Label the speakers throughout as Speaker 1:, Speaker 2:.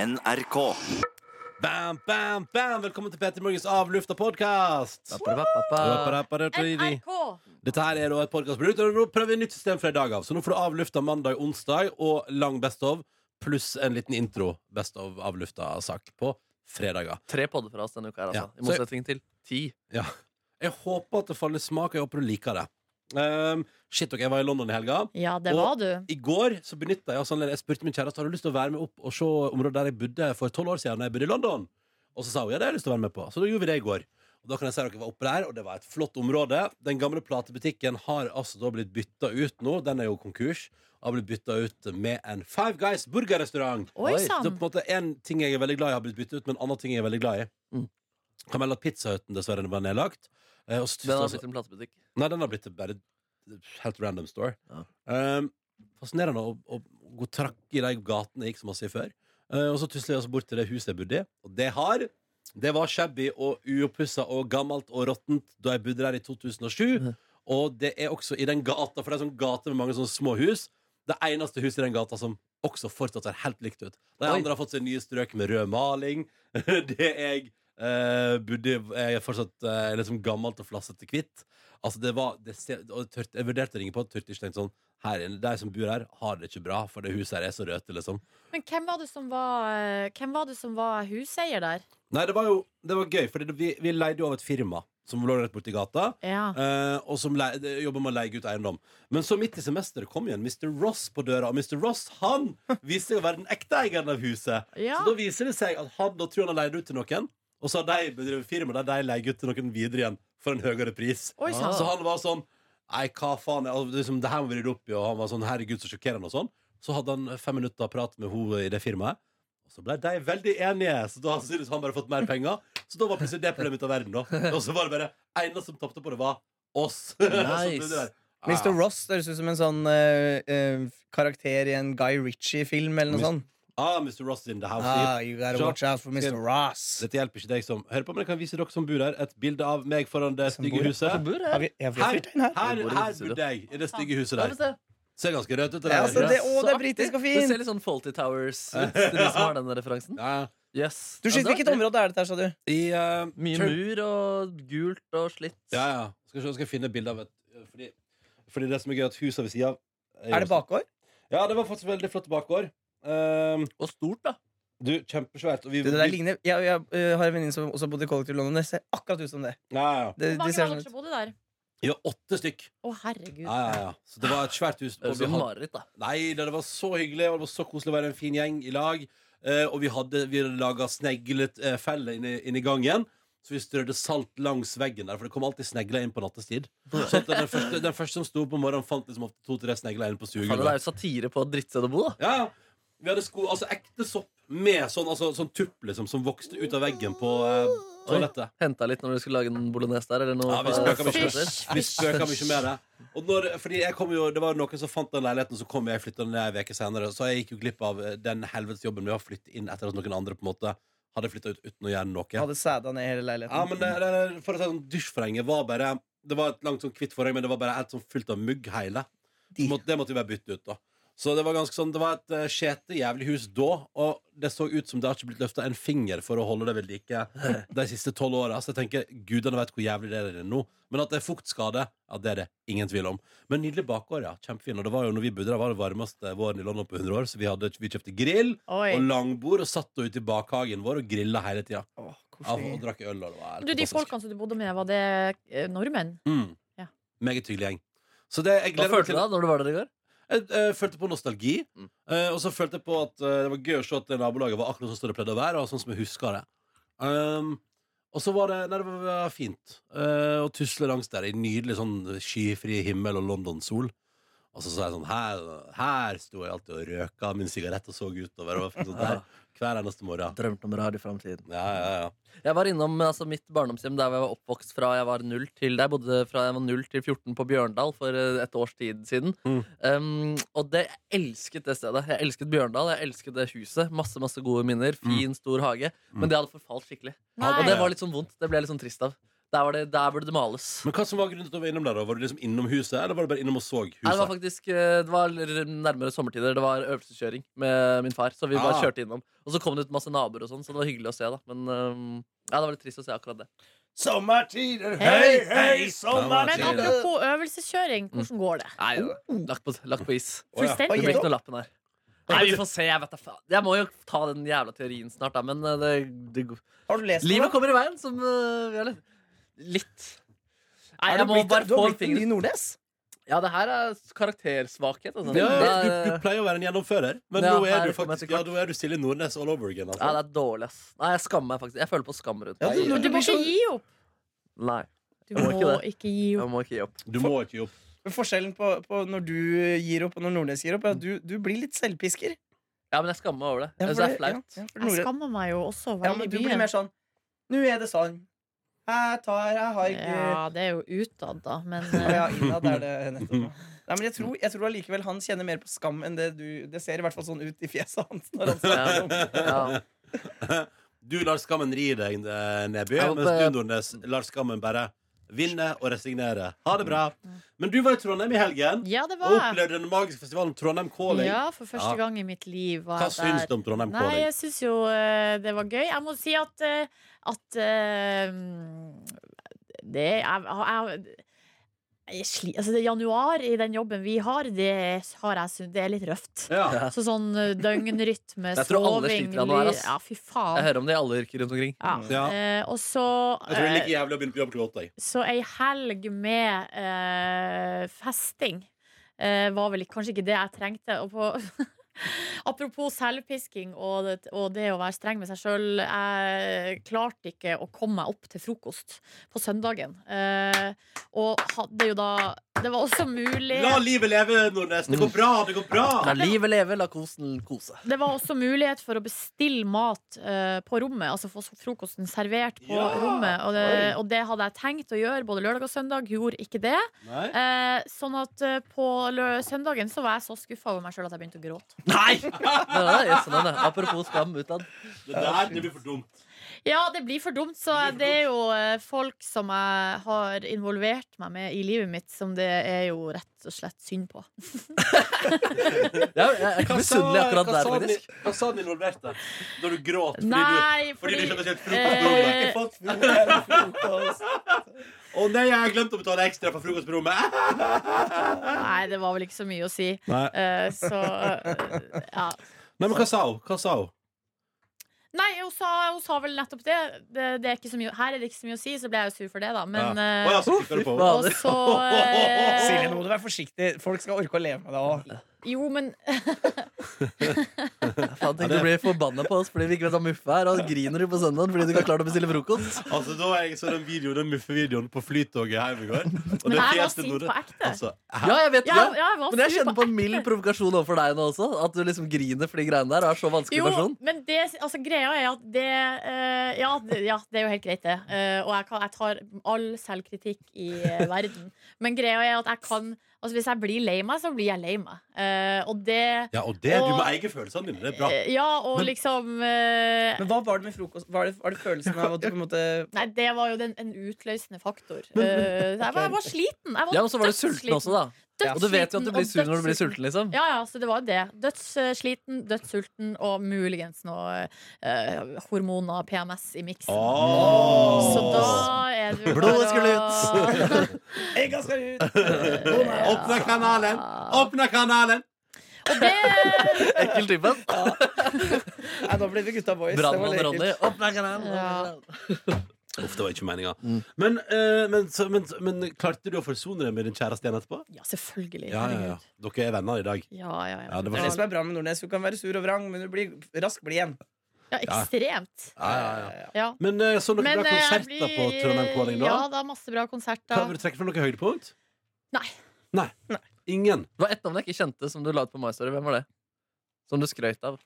Speaker 1: NRK.
Speaker 2: Bam, bam, bam! Velkommen til Petter Morgens Avlufta podkast. Dette
Speaker 3: NRK!
Speaker 2: her er da et podkastprodukt, og nå prøver vi nytt system fra i dag av. Så nå får du avlufta mandag, onsdag og lang best of, pluss en liten intro best of avlufta-sak på fredager.
Speaker 4: Tre podder fra oss denne uka her, altså.
Speaker 2: Ja.
Speaker 4: I motsetning til ti.
Speaker 2: Ja. Jeg håper at det faller smak, og jeg håper du liker det. Um, shit, ok, jeg var i London i helga.
Speaker 3: Ja, det
Speaker 2: Og-
Speaker 3: var du.
Speaker 2: I går så benytta jeg oss annerledes. Jeg spurte min kjæreste Har du lyst til å være med opp og se området der jeg bodde for tolv år siden. Da jeg bodde i London Og så sa hun ja, det har jeg lyst til å være med på. Så da gjorde vi det i går. Og da kan jeg si at dere var oppe der, og det var et flott område. Den gamle platebutikken har altså da blitt bytta ut nå. Den er jo konkurs. Har blitt bytta ut med en Five Guys burgerrestaurant.
Speaker 3: Oi, sann.
Speaker 2: Så på en måte en ting jeg er veldig glad i, har blitt bytta ut med en annen ting jeg er veldig glad i.
Speaker 4: Mm.
Speaker 2: Kan melde at Pizzahuten dessverre var nedlagt. Eh, og så
Speaker 4: Den har
Speaker 2: altså-
Speaker 4: blitt en platebutikk.
Speaker 2: Nei, den har blitt bare helt random store.
Speaker 4: Ja.
Speaker 2: Ehm, fascinerende å, å gå trakk i de gatene jeg gikk så masse i før. Eh, og så tusler jeg oss bort til det huset jeg bodde i. Og det har Det var shabby og uoppussa og gammelt og råttent da jeg bodde der i 2007.
Speaker 4: Mhm.
Speaker 2: Og det er også i den gata, for det er sånn gate med mange sånne små hus. Det eneste huset i den gata som også fortsatt ser helt likt ut. De
Speaker 4: Oi.
Speaker 2: andre har fått seg nye strøk med rød maling. det jeg eh, bodde i, er fortsatt eh, liksom gammelt og flassete hvitt. Altså det var det, ser- og tørt, Jeg vurderte å ringe på tørte ikke tenkte sånn her inne, De som bor her, har det ikke bra, for det huset her er så rødt. Liksom.
Speaker 3: Men hvem var det som var, eh, hvem var, det som var huseier der?
Speaker 2: Nei, det var jo det var gøy, for vi, vi leide jo av et firma som lå rett borti gata.
Speaker 3: Ja.
Speaker 2: eh, og som le, de jobber med å leie ut eiendom. Men så midt i semesteret kom igjen Mr. Ross på døra. Og Mr. Ross han viste seg å være den ekte eieren av huset.
Speaker 3: Ja.
Speaker 2: Så da viser det seg at han da tror han har leid ut til noen, og så har de bedrevet firma der de leier ut til noen videre igjen for en høyere pris.
Speaker 3: Oi, sant.
Speaker 2: Så han var sånn Nei, hva faen er- altså, liksom, Det her må vi rydde opp i, og han var sånn Herregud, så sjokkerende og sånn. Så hadde han fem minutter prat med henne i det firmaet, og så ble de veldig enige. Så da har sannsynligvis han bare fått mer penger. Så da var plutselig det problemet ut av verden, da. Og så var det bare eneste som tapte på det, var oss. Så det
Speaker 5: Nice.
Speaker 2: der. «Ah,
Speaker 5: Mr. Ross det høres ut som en sånn eh, eh, karakter i en Guy Ritchie-film eller noe
Speaker 2: Mis-
Speaker 5: sånt.
Speaker 2: Ah, Mr. Ross in the house.
Speaker 5: Ah, you gotta
Speaker 2: Sure.
Speaker 5: watch out for Mr. Ross.
Speaker 2: Dette hjelper ikke deg som hører på, men jeg kan vise dere som bor her, et bilde av meg foran det
Speaker 5: Som
Speaker 2: stygge
Speaker 5: bor her.
Speaker 2: huset.
Speaker 4: Bor
Speaker 5: Har
Speaker 4: her.
Speaker 5: vi, jeg
Speaker 2: Her,
Speaker 5: vet, her.
Speaker 2: her,
Speaker 4: Hvor bor
Speaker 2: her
Speaker 4: det,
Speaker 2: bor jeg, i det stygge huset
Speaker 4: Ja, men
Speaker 2: der.
Speaker 4: se.
Speaker 2: Ser ganske rødt ut. det
Speaker 5: Ja,
Speaker 2: der.
Speaker 5: altså, det, å, det er britisk og
Speaker 4: Det ser
Speaker 5: fint!
Speaker 4: litt sånn Faulty Towers ut, til de som har den referansen.
Speaker 2: Ja, ja.
Speaker 4: Yes. Altså,
Speaker 5: Du
Speaker 4: Ja,
Speaker 5: skyter
Speaker 4: det
Speaker 5: Hvilket
Speaker 4: var
Speaker 5: område er dette her, sa du?
Speaker 2: I, eh,
Speaker 4: Mye
Speaker 2: Tur-
Speaker 4: mur og gult og slitt.
Speaker 2: Ja, ja. Skal se, skal jeg finne et bilde av et eh, fordi, fordi det som er gøy, er at huset ved sida av
Speaker 5: Er det bakgård?
Speaker 2: Ja, det var faktisk veldig flott bakgård. Ehm,
Speaker 4: Og stort, da.
Speaker 2: du, kjempesvært. Og vi,
Speaker 5: Det der
Speaker 2: vi,
Speaker 5: ligner Jeg, jeg eh, har en venninne som også bodde i kollektiv i London. Det ser akkurat ut som det.
Speaker 2: ja, ja.
Speaker 5: Det,
Speaker 3: Hvor
Speaker 5: det
Speaker 3: mange
Speaker 5: ser
Speaker 3: var
Speaker 5: sånn
Speaker 3: dere
Speaker 5: ut.
Speaker 3: som bodde der?
Speaker 2: Vi var åtte stykk.
Speaker 3: Å, herregud.
Speaker 2: Ja, ja, ja. Så det var et svært hus.
Speaker 4: Høres
Speaker 2: Og
Speaker 4: ut
Speaker 5: sånn
Speaker 2: vi
Speaker 4: som
Speaker 2: hadde,
Speaker 4: mareritt, da.
Speaker 2: nei, det det var så hyggelig, og det var så koselig å være en fin gjeng i lag. Eh, og vi hadde, vi hadde eh, laga sneglefelle inni inn i gangen. Så vi strødde salt langs veggen der, for det kom alltid snegler inn på nattestid. Så at den, første, den første som sto opp om morgenen, fant liksom ofte to-tre snegler inne på
Speaker 4: Faen,
Speaker 2: stuegulvet.
Speaker 4: det er jo satire på drittsted å bo, da.
Speaker 2: Ja, ja. Vi hadde sko, altså ekte sopp med sånn, altså, sånn tupp liksom, som vokste ut av veggen på eh, toalettet.
Speaker 4: Henta litt når du skulle lage en bolognese der, eller noe.
Speaker 2: Ja, vi
Speaker 4: fra
Speaker 2: spøker mye.
Speaker 4: soppkjøtter.
Speaker 2: Vi spøka mye med det. Og når, fordi jeg kom jo, Det var noen som fant den leiligheten, så kom jeg flytta ned ei uke senere. Så jeg gikk jo glipp av eh, den helvetes jobben med å flytte inn etter at noen andre på en måte hadde flytta ut uten å gjøre noe.
Speaker 5: Hadde sæda ned hele leiligheten.
Speaker 2: Ja, men det, det, det, for å si sånn, Dusjforhenget var bare Det var et langt sånn kvitt forheng, men det var bare helt sånn fullt av mugg hele.
Speaker 5: De-
Speaker 2: Måtte- det måtte vi bare bytte ut, da. Så det var ganske sånn Det var et eh, skjete, jævlig hus da, og det så ut som det har ikke blitt løfta en finger for å holde det ved like de siste tolv åra. Så jeg tenker gudene vet hvor jævlig det er der inne nå. Men at det er fuktskade, ja, det er det ingen tvil om. Men nydelig bakgård, ja. Kjempefin. Og det var jo når vi bodde der, var det varmeste våren i London på 100 år, så vi, hadde, vi kjøpte grill
Speaker 3: Oi.
Speaker 2: og langbord og satt ute i bakhagen vår og grilla hele tida.
Speaker 5: Åh,
Speaker 2: Ja,
Speaker 5: koselig.
Speaker 2: og drakk øl, og det var helt
Speaker 3: Du, de
Speaker 2: fantastisk.
Speaker 3: folkene som du bodde med, var det eh, nordmenn?
Speaker 2: Mm.
Speaker 3: Ja.
Speaker 2: Meget hyggelig gjeng. Så det, jeg
Speaker 4: Hva
Speaker 2: gleder meg
Speaker 4: følte du
Speaker 2: til
Speaker 4: da når du var der i går?
Speaker 2: Jeg eh, følte på nostalgi.
Speaker 4: Mm.
Speaker 2: eh, og så følte jeg på at eh, det var gøy å se at det nabolaget var akkurat sånn som det pleide å være. Og sånn som jeg husker det um, Og så var det Nei, det var fint eh, å tusle langs der i nydelig sånn skyfri himmel og London-sol. Og så sa jeg sånn Her, her sto jeg alltid og røka min sigarett og så utover. Og sånn der, hver eneste morgen.
Speaker 4: Drømte om radio i framtiden.
Speaker 2: Ja, ja, ja.
Speaker 4: Jeg var innom altså, mitt barndomshjem der jeg var oppvokst fra jeg var null til Jeg bodde fra jeg var null til 14 på Bjørndal for eh, et års tid siden.
Speaker 2: Mm.
Speaker 4: Um, og det, jeg elsket det stedet. Jeg elsket Bjørndal, jeg elsket det huset. Masse masse gode minner. Fin, stor hage.
Speaker 2: Mm.
Speaker 4: Men det hadde forfalt skikkelig.
Speaker 2: Ja,
Speaker 3: Nei.
Speaker 4: Og det var litt sånn vondt. Det ble jeg litt sånn trist av. Der, var det, der burde det males.
Speaker 2: Men hva som var grunnen til at du var innom der? da? Var du liksom innom huset, eller var du bare innom og så huset?
Speaker 4: Nei, det var faktisk eh, det var r- nærmere sommertider. Det var øvelseskjøring med min far. Så vi bare
Speaker 2: Ah.
Speaker 4: kjørte innom. Og så kom det ut masse naboer, og sånn, så det var hyggelig å se. da Men ehm, ja, det var litt trist å se akkurat det.
Speaker 1: Sommertider,
Speaker 5: hei,
Speaker 1: hei,
Speaker 3: Men
Speaker 2: sommertider.
Speaker 3: apropos øvelseskjøring, hvordan går det?
Speaker 4: Nei, Oh! lagt, på, lagt på is.
Speaker 2: Å, ja.
Speaker 4: Det
Speaker 5: Oi,
Speaker 4: blir
Speaker 5: da.
Speaker 4: ikke noe lappen her. Nei, vi får se. Jeg vet da faen. Jeg må jo ta den jævla teorien snart, da. Men eh, det, det
Speaker 5: Har du lest
Speaker 4: Livet
Speaker 5: den? da?
Speaker 4: kommer i veien, som eh, vi har lest. Litt. Nei,
Speaker 5: Er
Speaker 4: jeg
Speaker 5: du
Speaker 4: må
Speaker 5: blitt-
Speaker 4: bare
Speaker 5: du
Speaker 4: få
Speaker 5: har blitt en ny
Speaker 4: fingeren
Speaker 5: Nordnes?
Speaker 4: Ja, det her er karaktersvakhet. Altså.
Speaker 2: Ja,
Speaker 4: det,
Speaker 2: du, du
Speaker 4: er,
Speaker 2: pleier å være en gjennomfører, men
Speaker 4: Ja,
Speaker 2: nå er
Speaker 4: her
Speaker 2: du
Speaker 4: kommer jeg
Speaker 2: faktisk
Speaker 4: til
Speaker 2: Ja, nå er du Silje Nordnes all over again.
Speaker 4: ja,
Speaker 2: Altså.
Speaker 4: det er dårlig, ass. Nei, jeg skammer meg faktisk. Jeg føler på skam rundt
Speaker 5: Ja,
Speaker 4: meg.
Speaker 5: du-
Speaker 3: Du må ikke gi opp.
Speaker 4: Nei,
Speaker 3: Du
Speaker 4: Jeg må
Speaker 3: må
Speaker 4: ikke
Speaker 3: ikke gi opp.
Speaker 4: jeg må ikke gi opp.
Speaker 2: Du må ikke gi opp.
Speaker 5: Men Forskjellen på, på når du gir opp, og når Nordnes gir opp, er at du, du blir litt selvpisker.
Speaker 4: Ja, men jeg skammer meg over det. Jeg
Speaker 5: Ja, for
Speaker 4: synes det er
Speaker 5: ja,
Speaker 4: flaut.
Speaker 5: ja, for
Speaker 3: Jeg
Speaker 5: Nordnes-
Speaker 3: skammer meg jo også
Speaker 5: Ja, men du
Speaker 3: veldig
Speaker 5: blir
Speaker 3: mye.
Speaker 5: mer sånn Nå er det sånn. Jeg tar, jeg har ikke
Speaker 3: Ja, det er jo utad, da, men
Speaker 5: Å
Speaker 3: eh,
Speaker 5: eh. Ja, innad er det nettopp.
Speaker 2: Mm.
Speaker 5: ja. Nei, men jeg tror, jeg tror allikevel han kjenner mer på skam enn det du Det ser i hvert fall sånn ut i fjeset hans. Når han snakker om.
Speaker 4: Ja.
Speaker 2: Du lar skammen ri deg, eh, Neby,
Speaker 4: Jeg håper-
Speaker 2: mens du, Nordnes, lar skammen bare vinne og resignere. Ha det bra. Men du var i Trondheim i helgen
Speaker 3: Ja, det
Speaker 2: og
Speaker 3: var jeg.
Speaker 2: opplevde den magiske festivalen Trondheim Calling.
Speaker 3: Ja, for første
Speaker 2: Ja.
Speaker 3: gang i mitt liv var
Speaker 2: Hva
Speaker 3: jeg der.
Speaker 2: syns du om Trondheim
Speaker 3: Nei,
Speaker 2: Calling?
Speaker 3: jeg syns jo eh, det var gøy. Jeg må si at, eh, at eh, det jeg, jeg, jeg, sli, altså det Januar i den jobben vi har, det har jeg syns det er litt røft.
Speaker 2: Ja.
Speaker 3: Så sånn eh, døgnrytme,
Speaker 4: Jeg tror alle
Speaker 3: soving,
Speaker 4: sliter av noe her,
Speaker 3: ly-
Speaker 4: ass.
Speaker 3: Ja, fy
Speaker 4: Jeg
Speaker 3: faen.
Speaker 4: hører om det i alle yrker rundt omkring.
Speaker 3: Ja.
Speaker 2: Ja.
Speaker 3: Eh, og så
Speaker 2: Jeg tror det er
Speaker 3: eh,
Speaker 2: like jævlig å begynne på jobb klokka åtte. jeg.
Speaker 3: så ei helg med eh, festing eh, var vel ikke- kanskje ikke det jeg trengte. Og på Apropos selvpisking og det, og det å være streng med seg sjøl. Jeg klarte ikke å komme meg opp til frokost på søndagen. Eh, og hadde jo da Det var også mulig
Speaker 2: La livet leve, Nordnes. Det går bra. det går
Speaker 4: La
Speaker 2: bra
Speaker 4: livet leve, la kosen kose.
Speaker 3: Det var også mulighet for å bestille mat eh, på rommet, altså få frokosten servert på
Speaker 2: Ja!
Speaker 3: rommet. Og det,
Speaker 2: Oi.
Speaker 3: og det hadde jeg tenkt å gjøre både lørdag og søndag, gjorde ikke det.
Speaker 2: Nei.
Speaker 3: Eh, sånn at eh, på lø søndagen så var jeg så skuffa over meg sjøl at jeg begynte å gråte.
Speaker 4: Nei! Det er sånn, det. Apropos skam utad.
Speaker 2: Det der det blir for dumt.
Speaker 3: Ja, det blir for dumt, så jeg- det er jo eh, folk som jeg har involvert meg med i livet mitt, som det er jo rett og slett synd på.
Speaker 4: Ja, jeg er ikke misunnelig akkurat der, faktisk.
Speaker 2: Hva sa den involverte da du gråt? Fordi
Speaker 3: Nei,
Speaker 2: du, fordi du ikke hadde kjøpt frokost på rommet?
Speaker 3: eh,
Speaker 5: Folk tror det er frokost.
Speaker 2: Å nei, jeg har glemt å betale ekstra for frokost på rommet!
Speaker 3: Nei, det var vel ikke så mye å si.
Speaker 2: Nei.
Speaker 3: Eh, så eh, ja.
Speaker 2: Nei, men hva sa hun? Hva sa hun?
Speaker 3: Nei, hun sa, hun sa vel nettopp det. det, det er ikke så mye, her er det ikke så mye å si, så ble jeg jo sur for det, da. Men
Speaker 2: ja.
Speaker 3: eh,
Speaker 2: Å, ja, så kikket du på henne.
Speaker 3: Og så eh,
Speaker 5: Silje, nå må du være forsiktig. Folk skal orke å leve med deg òg.
Speaker 3: Jo, men
Speaker 4: Faen, tenk du blir forbanna på oss fordi vi ikke vet hva muffe er, og griner du på søndagen fordi du ikke har klart å bestille frokost.
Speaker 2: Altså, da jeg så den videoen, den muffe-videoen på flytoget hjemme i går og
Speaker 3: Men
Speaker 2: det
Speaker 3: jeg var
Speaker 2: fjeset
Speaker 3: sint
Speaker 2: Nordnes-
Speaker 3: på ekte.
Speaker 2: Altså,
Speaker 4: Ja, jeg vet
Speaker 3: ja,
Speaker 4: det.
Speaker 3: ja, jeg var
Speaker 4: Men jeg
Speaker 3: sur
Speaker 4: kjenner på en mild provokasjon overfor deg nå også. At du liksom griner for de greiene der og er så vanskelig
Speaker 3: Jo,
Speaker 4: person.
Speaker 3: men det, altså, greia er at det, eh, ja, det Ja, det er jo helt greit, det. Eh, og jeg, kan, jeg tar all selvkritikk i eh, verden. Men greia er at jeg kan Altså, hvis jeg blir lei meg, så blir jeg lei meg. Eh, og det
Speaker 2: ja, og det, du
Speaker 3: Og-
Speaker 2: må eie følelsene dine. Det er bra.
Speaker 3: eh, Ja, og
Speaker 2: Men-
Speaker 3: liksom eh,
Speaker 5: Men hva var det med frokost? Var det, var det følelsen av at du på en måte
Speaker 3: Nei, det var jo den, en utløsende faktor. Eh, jeg, var, jeg var sliten. Jeg var
Speaker 4: Ja, men så var du sulten
Speaker 3: dødssliten.
Speaker 4: også, da. Og du vet jo at du
Speaker 3: Dødssliten
Speaker 4: blir
Speaker 3: og
Speaker 4: sur når du blir
Speaker 3: dødssulten.
Speaker 4: sulten, liksom.
Speaker 3: Ja, ja, så det var jo det. Dødssliten, dødssulten og muligens noe eh, hormoner, PMS, i miksen.
Speaker 2: Åh.
Speaker 3: Så da er det jo
Speaker 4: Blodet
Speaker 3: bare
Speaker 4: skulle
Speaker 3: å-
Speaker 5: Egga skal ut!
Speaker 2: Åpne kanalen! Åpne kanalen!
Speaker 3: Og det
Speaker 4: Ekkel typen.
Speaker 5: Nei, nå ble vi gutta boys. Det var
Speaker 4: Brannmann
Speaker 5: litt
Speaker 4: Ronny.
Speaker 5: ekkelt.
Speaker 4: Opp med kanalen!
Speaker 3: Ja.
Speaker 2: Uff, det var ikke meninga. Men, eh, men, så- men, men klarte du å forsone deg med din kjæreste igjen etterpå?
Speaker 3: Ja, selvfølgelig.
Speaker 2: Ja, ja, ja.
Speaker 3: Herregud.
Speaker 2: Dere er venner i dag.
Speaker 3: Ja, ja,
Speaker 2: Ja, det
Speaker 3: ja.
Speaker 5: Det er det
Speaker 2: var
Speaker 5: som er bra med Nordnes. Du kan være sur og vrang, men du blir raskt blid igjen.
Speaker 3: ja ekstremt.
Speaker 2: ja, ja, ja.
Speaker 3: Ja.
Speaker 2: Men eh, så dere
Speaker 3: Men,
Speaker 2: bra
Speaker 3: eh, jeg
Speaker 2: konserter
Speaker 3: blir-
Speaker 2: på Trondheim Calling, da?
Speaker 3: Ja, det er masse bra
Speaker 2: Kan dere
Speaker 3: konserter.
Speaker 2: trekke fram noe høydepunkt?
Speaker 3: Nei.
Speaker 2: Nei. Ingen?
Speaker 4: Det var ett navn jeg ikke kjente, som du la ut på My Story. Hvem var det? Som du skrøt av.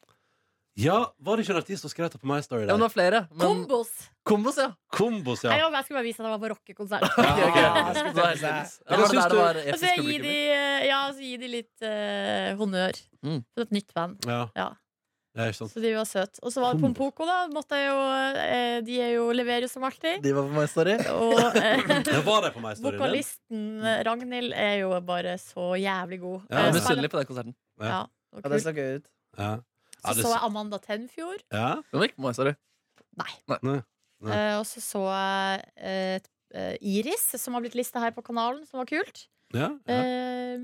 Speaker 2: Ja, var det ikke en artist som skrev det på My Story?
Speaker 4: Ja,
Speaker 2: Der?
Speaker 4: men det var flere. Men
Speaker 3: Kombos!
Speaker 4: Kombos, ja.
Speaker 2: Kombos,
Speaker 3: Nei,
Speaker 2: ja.
Speaker 3: Jeg skulle bare vise at jeg var på rockekonsert.
Speaker 4: Ok, ok.
Speaker 5: Ja,
Speaker 4: Det var helt fint. Ja,
Speaker 2: Men
Speaker 4: det
Speaker 2: syns
Speaker 4: der
Speaker 2: du-
Speaker 4: var
Speaker 3: Og
Speaker 4: episk
Speaker 3: så gi
Speaker 4: publikum.
Speaker 3: altså, de, ja, så gi de litt eh, honnør
Speaker 4: Mm.
Speaker 3: for et nytt band.
Speaker 2: Ja.
Speaker 3: Ja.
Speaker 2: ja. Det er ikke sant.
Speaker 3: Så de var søte. Og så var det Pompoko, da. Måtte jeg jo, eh, de er jo, leverer jo som alltid.
Speaker 4: De var på My Story.
Speaker 3: Og eh,
Speaker 2: Det var det på meg, storyen din.
Speaker 3: vokalisten eh, Ragnhild er jo bare så jævlig god.
Speaker 2: Ja,
Speaker 4: Jeg er
Speaker 3: Eh,
Speaker 2: men-
Speaker 3: spiller-
Speaker 4: misunnelig på den konserten.
Speaker 3: Ja, det var
Speaker 5: Ja, det
Speaker 3: kult.
Speaker 5: så gøy ut.
Speaker 2: Ja. Ja,
Speaker 3: Så
Speaker 2: det,
Speaker 3: så jeg Amanda Tenfjord.
Speaker 2: ja.
Speaker 4: Den var ikke på My Story.
Speaker 3: Nei.
Speaker 2: Nei.
Speaker 3: Eh, og så så jeg eh, et, eh, Iris, som har blitt lista her på kanalen, som var kult.
Speaker 2: Ja, ja.
Speaker 3: Eh,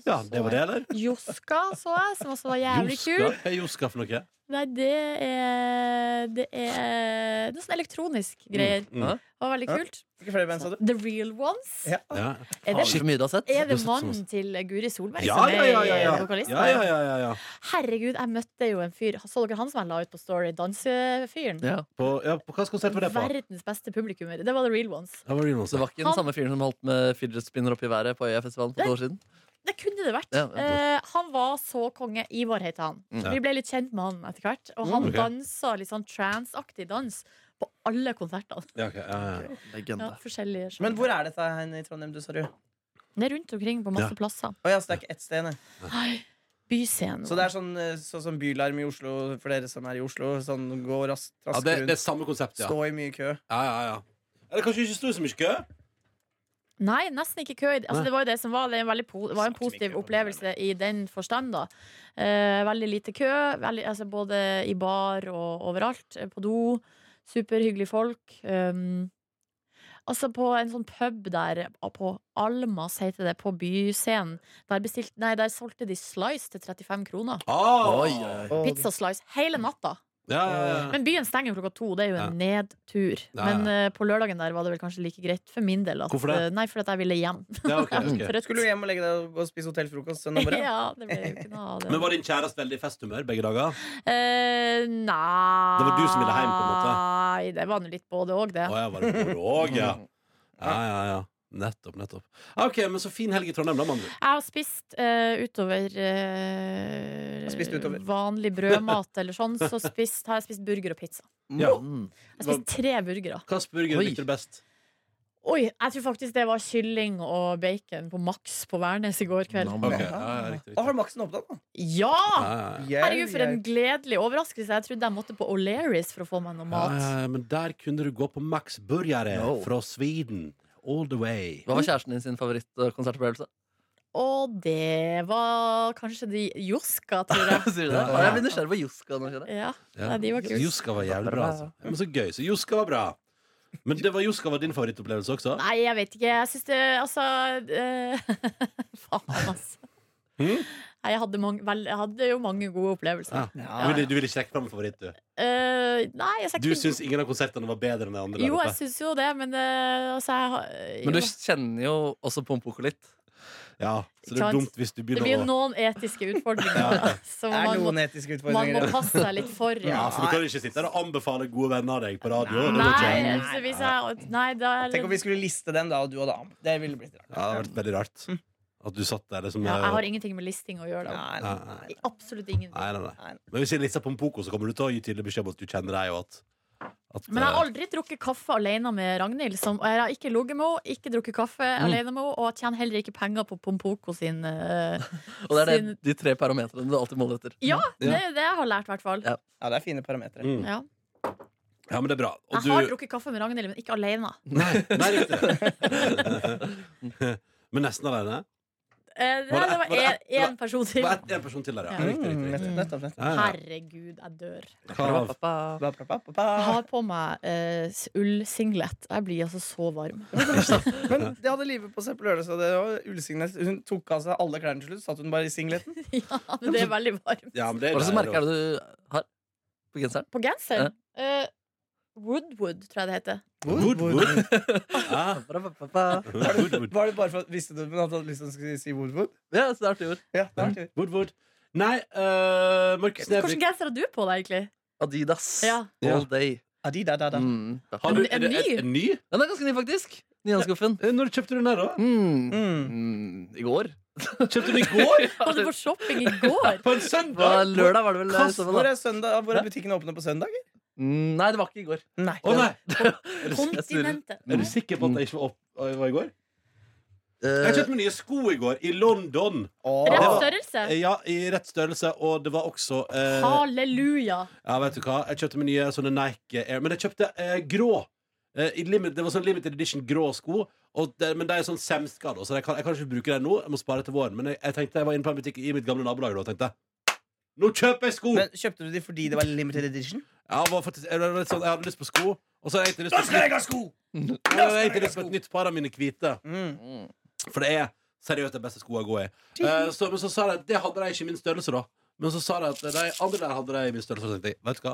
Speaker 3: så
Speaker 2: ja,
Speaker 3: så
Speaker 2: det var det,
Speaker 3: jeg
Speaker 2: eller?
Speaker 3: Joska så jeg, som også var jævlig
Speaker 2: Joska?
Speaker 3: kul.
Speaker 2: Hva er Joska for noe? Mm,
Speaker 3: Nei, det er Det er noe sånn elektronisk greier.
Speaker 2: Mm, mm.
Speaker 3: Det var veldig
Speaker 5: Ja.
Speaker 3: kult.
Speaker 5: Hvilke flere band sa du?
Speaker 3: The Real Ones.
Speaker 5: Ja.
Speaker 2: Ja.
Speaker 3: Er
Speaker 4: Faen,
Speaker 3: det,
Speaker 4: så mye du har sett.
Speaker 3: er det
Speaker 2: Shit.
Speaker 3: mannen til Guri Solberg
Speaker 2: Ja,
Speaker 3: som er
Speaker 2: ja, ja, ja, ja.
Speaker 3: vokalist?
Speaker 2: Ja, ja, ja, ja, ja.
Speaker 3: Herregud, jeg møtte jo en fyr. Så dere han som jeg la ut på Story? Dansefyren?
Speaker 4: Ja.
Speaker 2: På, ja, på hvilken konsert var det på?
Speaker 3: Verdens beste publikummer. Det var The Real Ones.
Speaker 2: Det var Reno
Speaker 4: Så det var ikke den
Speaker 3: Han-
Speaker 4: samme fyren som holdt med fidget spinner opp i været på Øyafestivalen for et år siden?
Speaker 3: Det kunne det vært.
Speaker 4: Ja, ja.
Speaker 3: Eh, han var så konge. Ivar het han.
Speaker 4: Mm.
Speaker 3: Vi ble litt kjent med han etter hvert. Og
Speaker 2: Mm,
Speaker 3: han
Speaker 2: ok.
Speaker 3: dansa litt sånn trans-aktig dans på alle konsertene.
Speaker 2: Ja, ok, ja, ja.
Speaker 4: Legende.
Speaker 3: Ja, forskjellige
Speaker 5: Men
Speaker 3: sjangre.
Speaker 5: hvor er dette hen i Trondheim, du, sa du? Å
Speaker 3: Det er rundt omkring på masse
Speaker 2: Ja.
Speaker 3: plasser.
Speaker 5: ja, så det er ikke ett sted, nei.
Speaker 3: Ai, Byscenen.
Speaker 5: Så det er sånn, eh, sånn som bylarm i Oslo, for dere som er i Oslo. Sånn gå raskt
Speaker 2: Ja,
Speaker 5: rask
Speaker 2: det, det
Speaker 5: rundt,
Speaker 2: er samme konsept, ja.
Speaker 5: stå i mye kø.
Speaker 2: ja, ja, ja. Eller kanskje ikke sto så mye kø?
Speaker 3: Nei, nesten ikke kø. Altså,
Speaker 2: Nei.
Speaker 3: det var jo det som var Det, er en veldig po det var en positiv opplevelse i den forstand, da. Eh, veldig lite kø, veldig, altså, både i bar og overalt. eh, På do. Superhyggelige folk. Um, altså På en sånn pub der, på Almas heter det, på Byscenen, der, bestilt- nei, der solgte de slice til 35 kroner.
Speaker 2: Ah!
Speaker 4: Oi, oi, oi.
Speaker 3: Pizza slice hele natta.
Speaker 2: Ja, ja, ja.
Speaker 3: Men byen stenger klokka to, det er jo en nedtur.
Speaker 2: Ja, ja.
Speaker 3: Men eh, på lørdagen der var det vel kanskje like greit for min del. At,
Speaker 2: Hvorfor det?
Speaker 3: eh, nei, fordi at jeg ville hjem.
Speaker 2: ja ok, ok.
Speaker 3: Trøtt.
Speaker 5: Skulle du hjem og legge deg og gå og spise hotellfrokost søndag morgen?
Speaker 3: ja, det ble jo ikke noe av det.
Speaker 2: Men var din kjæreste veldig i festhumør begge dager?
Speaker 3: Eh, nei
Speaker 2: Det var du som ville hjem, på en måte?
Speaker 3: Nei, det var nå litt både òg,
Speaker 2: Å,
Speaker 3: det.
Speaker 2: jeg var det òg, ja. Ja, ja, ja. Nettopp, nettopp. Ah, ok, men så fin helg i Trondheim, da, mann.
Speaker 3: Jeg har spist eh, utover eh,
Speaker 5: Har spist utover.
Speaker 3: vanlig brødmat eller sånn. Så spist, har jeg spist burger og pizza.
Speaker 2: Ja.
Speaker 4: Mm.
Speaker 3: Jeg har spist tre burgere.
Speaker 2: Hvilken burger
Speaker 4: Oi.
Speaker 2: likte du best?
Speaker 3: Oi, jeg tror faktisk det var kylling og bacon på maks på Værnes i går kveld.
Speaker 4: Nam.
Speaker 2: Ok, ja, ja, riktig,
Speaker 5: Da
Speaker 2: riktig.
Speaker 5: har Maxen åpnet den, da.
Speaker 3: Ja!
Speaker 2: Ja, ja, ja.
Speaker 5: Yeah,
Speaker 3: Herregud, for en
Speaker 5: yeah.
Speaker 3: gledelig overraskelse. Jeg trodde jeg måtte på O'Learys for å få meg noe
Speaker 2: Ja,
Speaker 3: mat.
Speaker 2: ja, ja, men der kunne du gå på Max Burgere
Speaker 4: No.
Speaker 2: fra Sweden. All the way.
Speaker 4: Hva var kjæresten din sin favorittkonsertopplevelse?
Speaker 3: Og det var kanskje de Joska, tror jeg.
Speaker 4: Sier du det? Jeg blir nysgjerrig på Joska nå, kjenner jeg.
Speaker 3: Ja,
Speaker 2: Ja.
Speaker 3: nei, de var kult.
Speaker 2: Joska var jævlig bra,
Speaker 4: Bra.
Speaker 2: altså. Ja, Men så gøy. Så Joska var bra. Men det var Joska var din favorittopplevelse også?
Speaker 3: Nei, jeg vet ikke. Jeg syns det Altså eh, Faen, altså.
Speaker 2: Hm?
Speaker 3: Nei, jeg, hadde mange, vel, jeg hadde jo mange gode opplevelser.
Speaker 2: Ja. Du ville, du ville ikke trekke fram en favoritt, du?
Speaker 3: Eh, nei, jeg skal
Speaker 2: Du
Speaker 3: ikke
Speaker 2: syns ingen av konsertene var bedre enn de andre? der
Speaker 3: Jo, jeg
Speaker 2: oppe?
Speaker 3: syns jo det, men eh, altså jeg, har-
Speaker 4: Men du
Speaker 3: jo.
Speaker 4: kjenner jo også Pompoko litt.
Speaker 2: ja, så det
Speaker 3: Ikke
Speaker 2: er
Speaker 3: sant?
Speaker 2: dumt hvis du
Speaker 3: Det
Speaker 2: begynner
Speaker 3: blir jo
Speaker 2: å
Speaker 3: noen etiske utfordringer da, som
Speaker 5: Det er
Speaker 3: man må,
Speaker 5: noen etiske
Speaker 3: man må
Speaker 5: utfordringer.
Speaker 3: passe seg litt for.
Speaker 2: Ja,
Speaker 3: Ja.
Speaker 2: for du kan ikke sitte her og anbefale gode venner av deg på radio. det går
Speaker 3: Nei,
Speaker 2: ikke.
Speaker 3: altså, hvis jeg, nei da er
Speaker 5: Tenk om vi skulle liste dem, da, og du og dam. Det ville blitt rart.
Speaker 2: Ja, det hadde vært veldig rart at du satt der liksom
Speaker 3: Mm. Ja, jeg har
Speaker 2: eh,
Speaker 3: ingenting med listing å gjøre. Da.
Speaker 5: Nei, nei, nei.
Speaker 3: Absolutt ingenting.
Speaker 2: Nei, nei, nei.
Speaker 5: Nei.
Speaker 2: Men hvis jeg lister på en poko, så kommer du til å gi tydelig beskjed om at du kjenner deg, og at, at
Speaker 3: Men jeg har
Speaker 2: eh,
Speaker 3: aldri drukket kaffe alene med Ragnhild. Som, og jeg har ikke ligget med henne, ikke drukket kaffe alene med henne, og jeg tjener heller ikke penger på Pompoko sin eh,
Speaker 4: Og det er det,
Speaker 3: Sin-
Speaker 4: de tre parametrene du alltid måler etter.
Speaker 3: Ja, det er jo det jeg har lært, i hvert fall.
Speaker 4: Ja.
Speaker 5: Ja, det er fine parametere.
Speaker 2: Mm.
Speaker 3: Ja.
Speaker 2: Ja, men det er bra. Og
Speaker 3: Jeg
Speaker 2: du-
Speaker 3: har drukket kaffe med Ragnhild, men ikke alene.
Speaker 2: Nei, nei riktig. men nesten alene?
Speaker 3: Eh,
Speaker 2: Var det
Speaker 3: nei,
Speaker 2: ett-
Speaker 3: det var
Speaker 2: var det ett-
Speaker 3: én person
Speaker 2: Det
Speaker 3: til.
Speaker 2: var ett- en person til der, ja.
Speaker 3: Ja.
Speaker 2: Riktig, riktig, riktig.
Speaker 5: Nettopp, Mm, nettopp, nettopp.
Speaker 2: Ja, ja.
Speaker 3: Herregud, jeg dør.
Speaker 2: Hva-
Speaker 4: Pappa.
Speaker 5: Ba, ba, ba, ba, ba.
Speaker 3: Jeg har på meg uh, ullsinglet. Jeg blir altså så varm.
Speaker 5: Men det hadde Live på seg på lørdag. Så det var ullsinglet. Hun tok av seg alle klærne til slutt. Satt hun bare i singleten?
Speaker 3: ja, men det er veldig varmt.
Speaker 2: Ja, men det er
Speaker 4: Hva slags
Speaker 2: deilig,
Speaker 4: merke er det du har på genseren?
Speaker 3: På genseren? eh, Woodwood, tror jeg det heter.
Speaker 2: da. Wood, wood. Ja.
Speaker 4: Pappa.
Speaker 2: Wood, wood.
Speaker 5: Var det bare for at Visste du men at hun hadde lyst til å skulle si Woodwood?
Speaker 4: Ja, så det er artig ord.
Speaker 5: Ja, det er artig.
Speaker 2: Wood, wood. Nei, eh, Markus
Speaker 3: Hvilken
Speaker 2: Neby
Speaker 3: genser har du på deg, egentlig?
Speaker 4: Adidas.
Speaker 3: Ja.
Speaker 4: All day.
Speaker 5: Adidadada.
Speaker 4: Mm. Ja,
Speaker 2: har du,
Speaker 3: En- en
Speaker 2: er det,
Speaker 3: ny?
Speaker 2: er, er ny?
Speaker 4: den er ganske ny, faktisk. Nyhandskuffen.
Speaker 2: Eh, Når kjøpte du den der, da?
Speaker 4: Mm.
Speaker 5: Mm.
Speaker 4: Mm. I går.
Speaker 2: Kjøpte du den i går?
Speaker 3: Var du på shopping i går?
Speaker 2: På en
Speaker 4: På
Speaker 2: søndag?
Speaker 4: lørdag var det vel? i
Speaker 5: Kast,
Speaker 4: så fall,
Speaker 5: hvor
Speaker 4: da.
Speaker 5: er, søndag, hvor er butikkene åpne på søndager?
Speaker 4: Mm, Nei, det var ikke i går.
Speaker 5: Nei.
Speaker 2: Å nei!
Speaker 4: Jeg surrer.
Speaker 3: Kontinentet.
Speaker 2: eh, Er du sikker på at jeg ikke var, opp, jeg var i går? Jeg
Speaker 4: Eh,
Speaker 2: kjøpte meg nye sko i går, i London.
Speaker 3: Rett
Speaker 2: var-
Speaker 3: størrelse.
Speaker 2: Eh, Ja, i rett størrelse, og det var også eh,
Speaker 3: Halleluja.
Speaker 2: Ja, vet du hva? Jeg kjøpte meg nye sånne Nike Air Men jeg kjøpte eh, grå eh, i limit, Det var sånn limited edition grå sko og det, Men de er sånn semska da Så jeg kan, jeg kan ikke bruke dem nå, jeg må spare til våren Men jeg, jeg tenkte, jeg var inne på en butikk i mitt gamle nabolag da Og tenkte, nå kjøper jeg sko
Speaker 5: Men Kjøpte du de fordi det var limited edition?
Speaker 2: Ja, var faktisk, jeg, var litt sånn, jeg hadde lyst på sko Og så hadde jeg egentlig lyst på,
Speaker 5: jeg ha sko!
Speaker 2: jeg hadde egentlig lyst på et nytt par av mine hvite
Speaker 5: Mm.
Speaker 4: mm.
Speaker 2: For det er seriøst de beste skoene å gå i. Eh, så, men så sa de at det hadde de ikke i min størrelse, da. Men så sa de at de andre der hadde de i min størrelse. Og så tenkte jeg, vet du hva?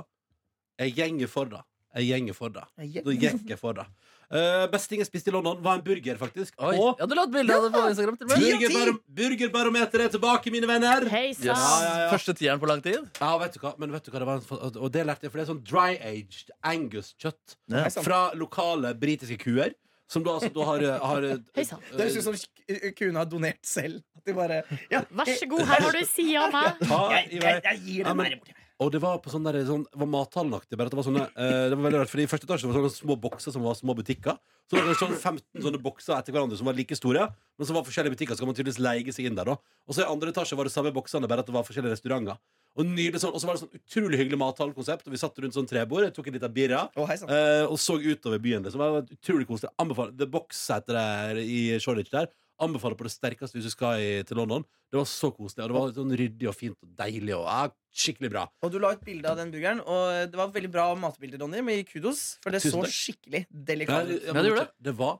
Speaker 2: Jeg gjenger for det. Jeg gjenger for det. Da gikk jeg for det. Eh, beste ting jeg spiste i London, var en burger, faktisk.
Speaker 4: Oi.
Speaker 2: Og
Speaker 4: Ja, du la et bilde av det på Instagram. til meg.
Speaker 5: Ti av ti!
Speaker 2: burgerbaro- burgerbarometeret er tilbake, mine venner!
Speaker 3: Hei
Speaker 4: Yes.
Speaker 2: ja,
Speaker 3: sann.
Speaker 2: ja.
Speaker 4: Første tieren på lang tid.
Speaker 2: Ja, vet du hva? Men vet du hva det var? en- Og det lærte jeg, for det er sånn dry-aged Angus-kjøtt
Speaker 5: Hei sann.
Speaker 2: fra lokale britiske kuer. Som da, altså, da har, har eh,
Speaker 3: Hei sann.
Speaker 5: Det høres ut som k- kuen har donert selv. At de bare ja,
Speaker 3: Vær så god, her har du ei side av meg.
Speaker 2: eh, Ta
Speaker 5: Jeg,
Speaker 2: i
Speaker 5: jeg,
Speaker 2: vei.
Speaker 5: jeg, gir
Speaker 2: Ja,
Speaker 5: den
Speaker 2: men-
Speaker 5: her borti.
Speaker 2: Og det var på sånn der, sånn, det var mathallenaktig. Bare at det var sånne eh, Det var veldig rart, fordi I første etasje var det sånne små bokser som var små butikker. Så var det sånn 15 sånne bokser etter hverandre som var like store, men som var forskjellige butikker. Så kan man tydeligvis leie seg inn der da Og så i andre etasje var det samme boksene, bare at det var forskjellige restauranter. Og nydelig sånn, og så var det sånn utrolig hyggelig mathallekonsept, og vi satt rundt sånn trebord, jeg tok en liten birra.
Speaker 5: Å, hei sann.
Speaker 2: eh, og så utover byen. Liksom. Det var utrolig koselig. Anbefaler The Box heter det i Shoreditch der. Anbefaler på det sterkeste hvis du skal i, til London. Det var så koselig. Og det var sånn ryddig og fint og deilig. Og, ja, skikkelig bra.
Speaker 5: Og du la ut bilde av den burgeren, og det var veldig bra matbilde, Ronny. Med kudos, for det
Speaker 2: Tusen
Speaker 5: så
Speaker 2: takk.
Speaker 5: skikkelig
Speaker 2: Ja,
Speaker 5: delikat
Speaker 2: det,
Speaker 5: ut.
Speaker 2: ja,
Speaker 4: Ja,
Speaker 2: men
Speaker 4: det gjorde
Speaker 2: det. det var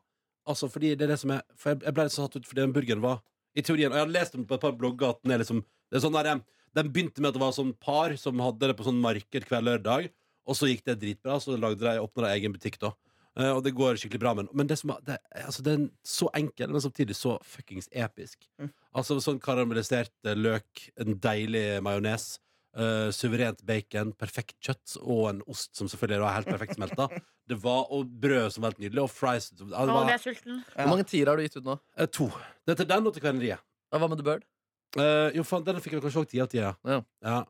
Speaker 2: Altså, fordi det er det som er For jeg, jeg ble litt satt ut fordi den burgeren var I teorien, og jeg har lest om på et par blogger At den er liksom Det er sånn der eh, Den begynte med at det var sånn par Som hadde det på sånn marked hver lørdag Og så gikk det dritbra Så lagde de åpnet de egen butikk da Eh, Og det går skikkelig bra Men, men det som er det, Altså, den er så enkel Men samtidig så fuckings episk
Speaker 5: Mm.
Speaker 2: Altså sånn karamellisert eh, løk En deilig majones eh, suverent bacon, perfekt kjøtt og en ost som selvfølgelig var helt perfekt smelta. Det var og brød som var helt nydelig, og fries som- ja,
Speaker 3: Å,
Speaker 2: det var,
Speaker 3: ble jeg sulten.
Speaker 5: Ja.
Speaker 4: Hvor mange tiere har du gitt ut nå?
Speaker 2: eh, To. Det er til den og til Kverneriet.
Speaker 4: Ja, Hva med The Bird?
Speaker 2: Eh, jo, faen, den fikk jeg kanskje òg ti av ti. Ja.
Speaker 4: Ja.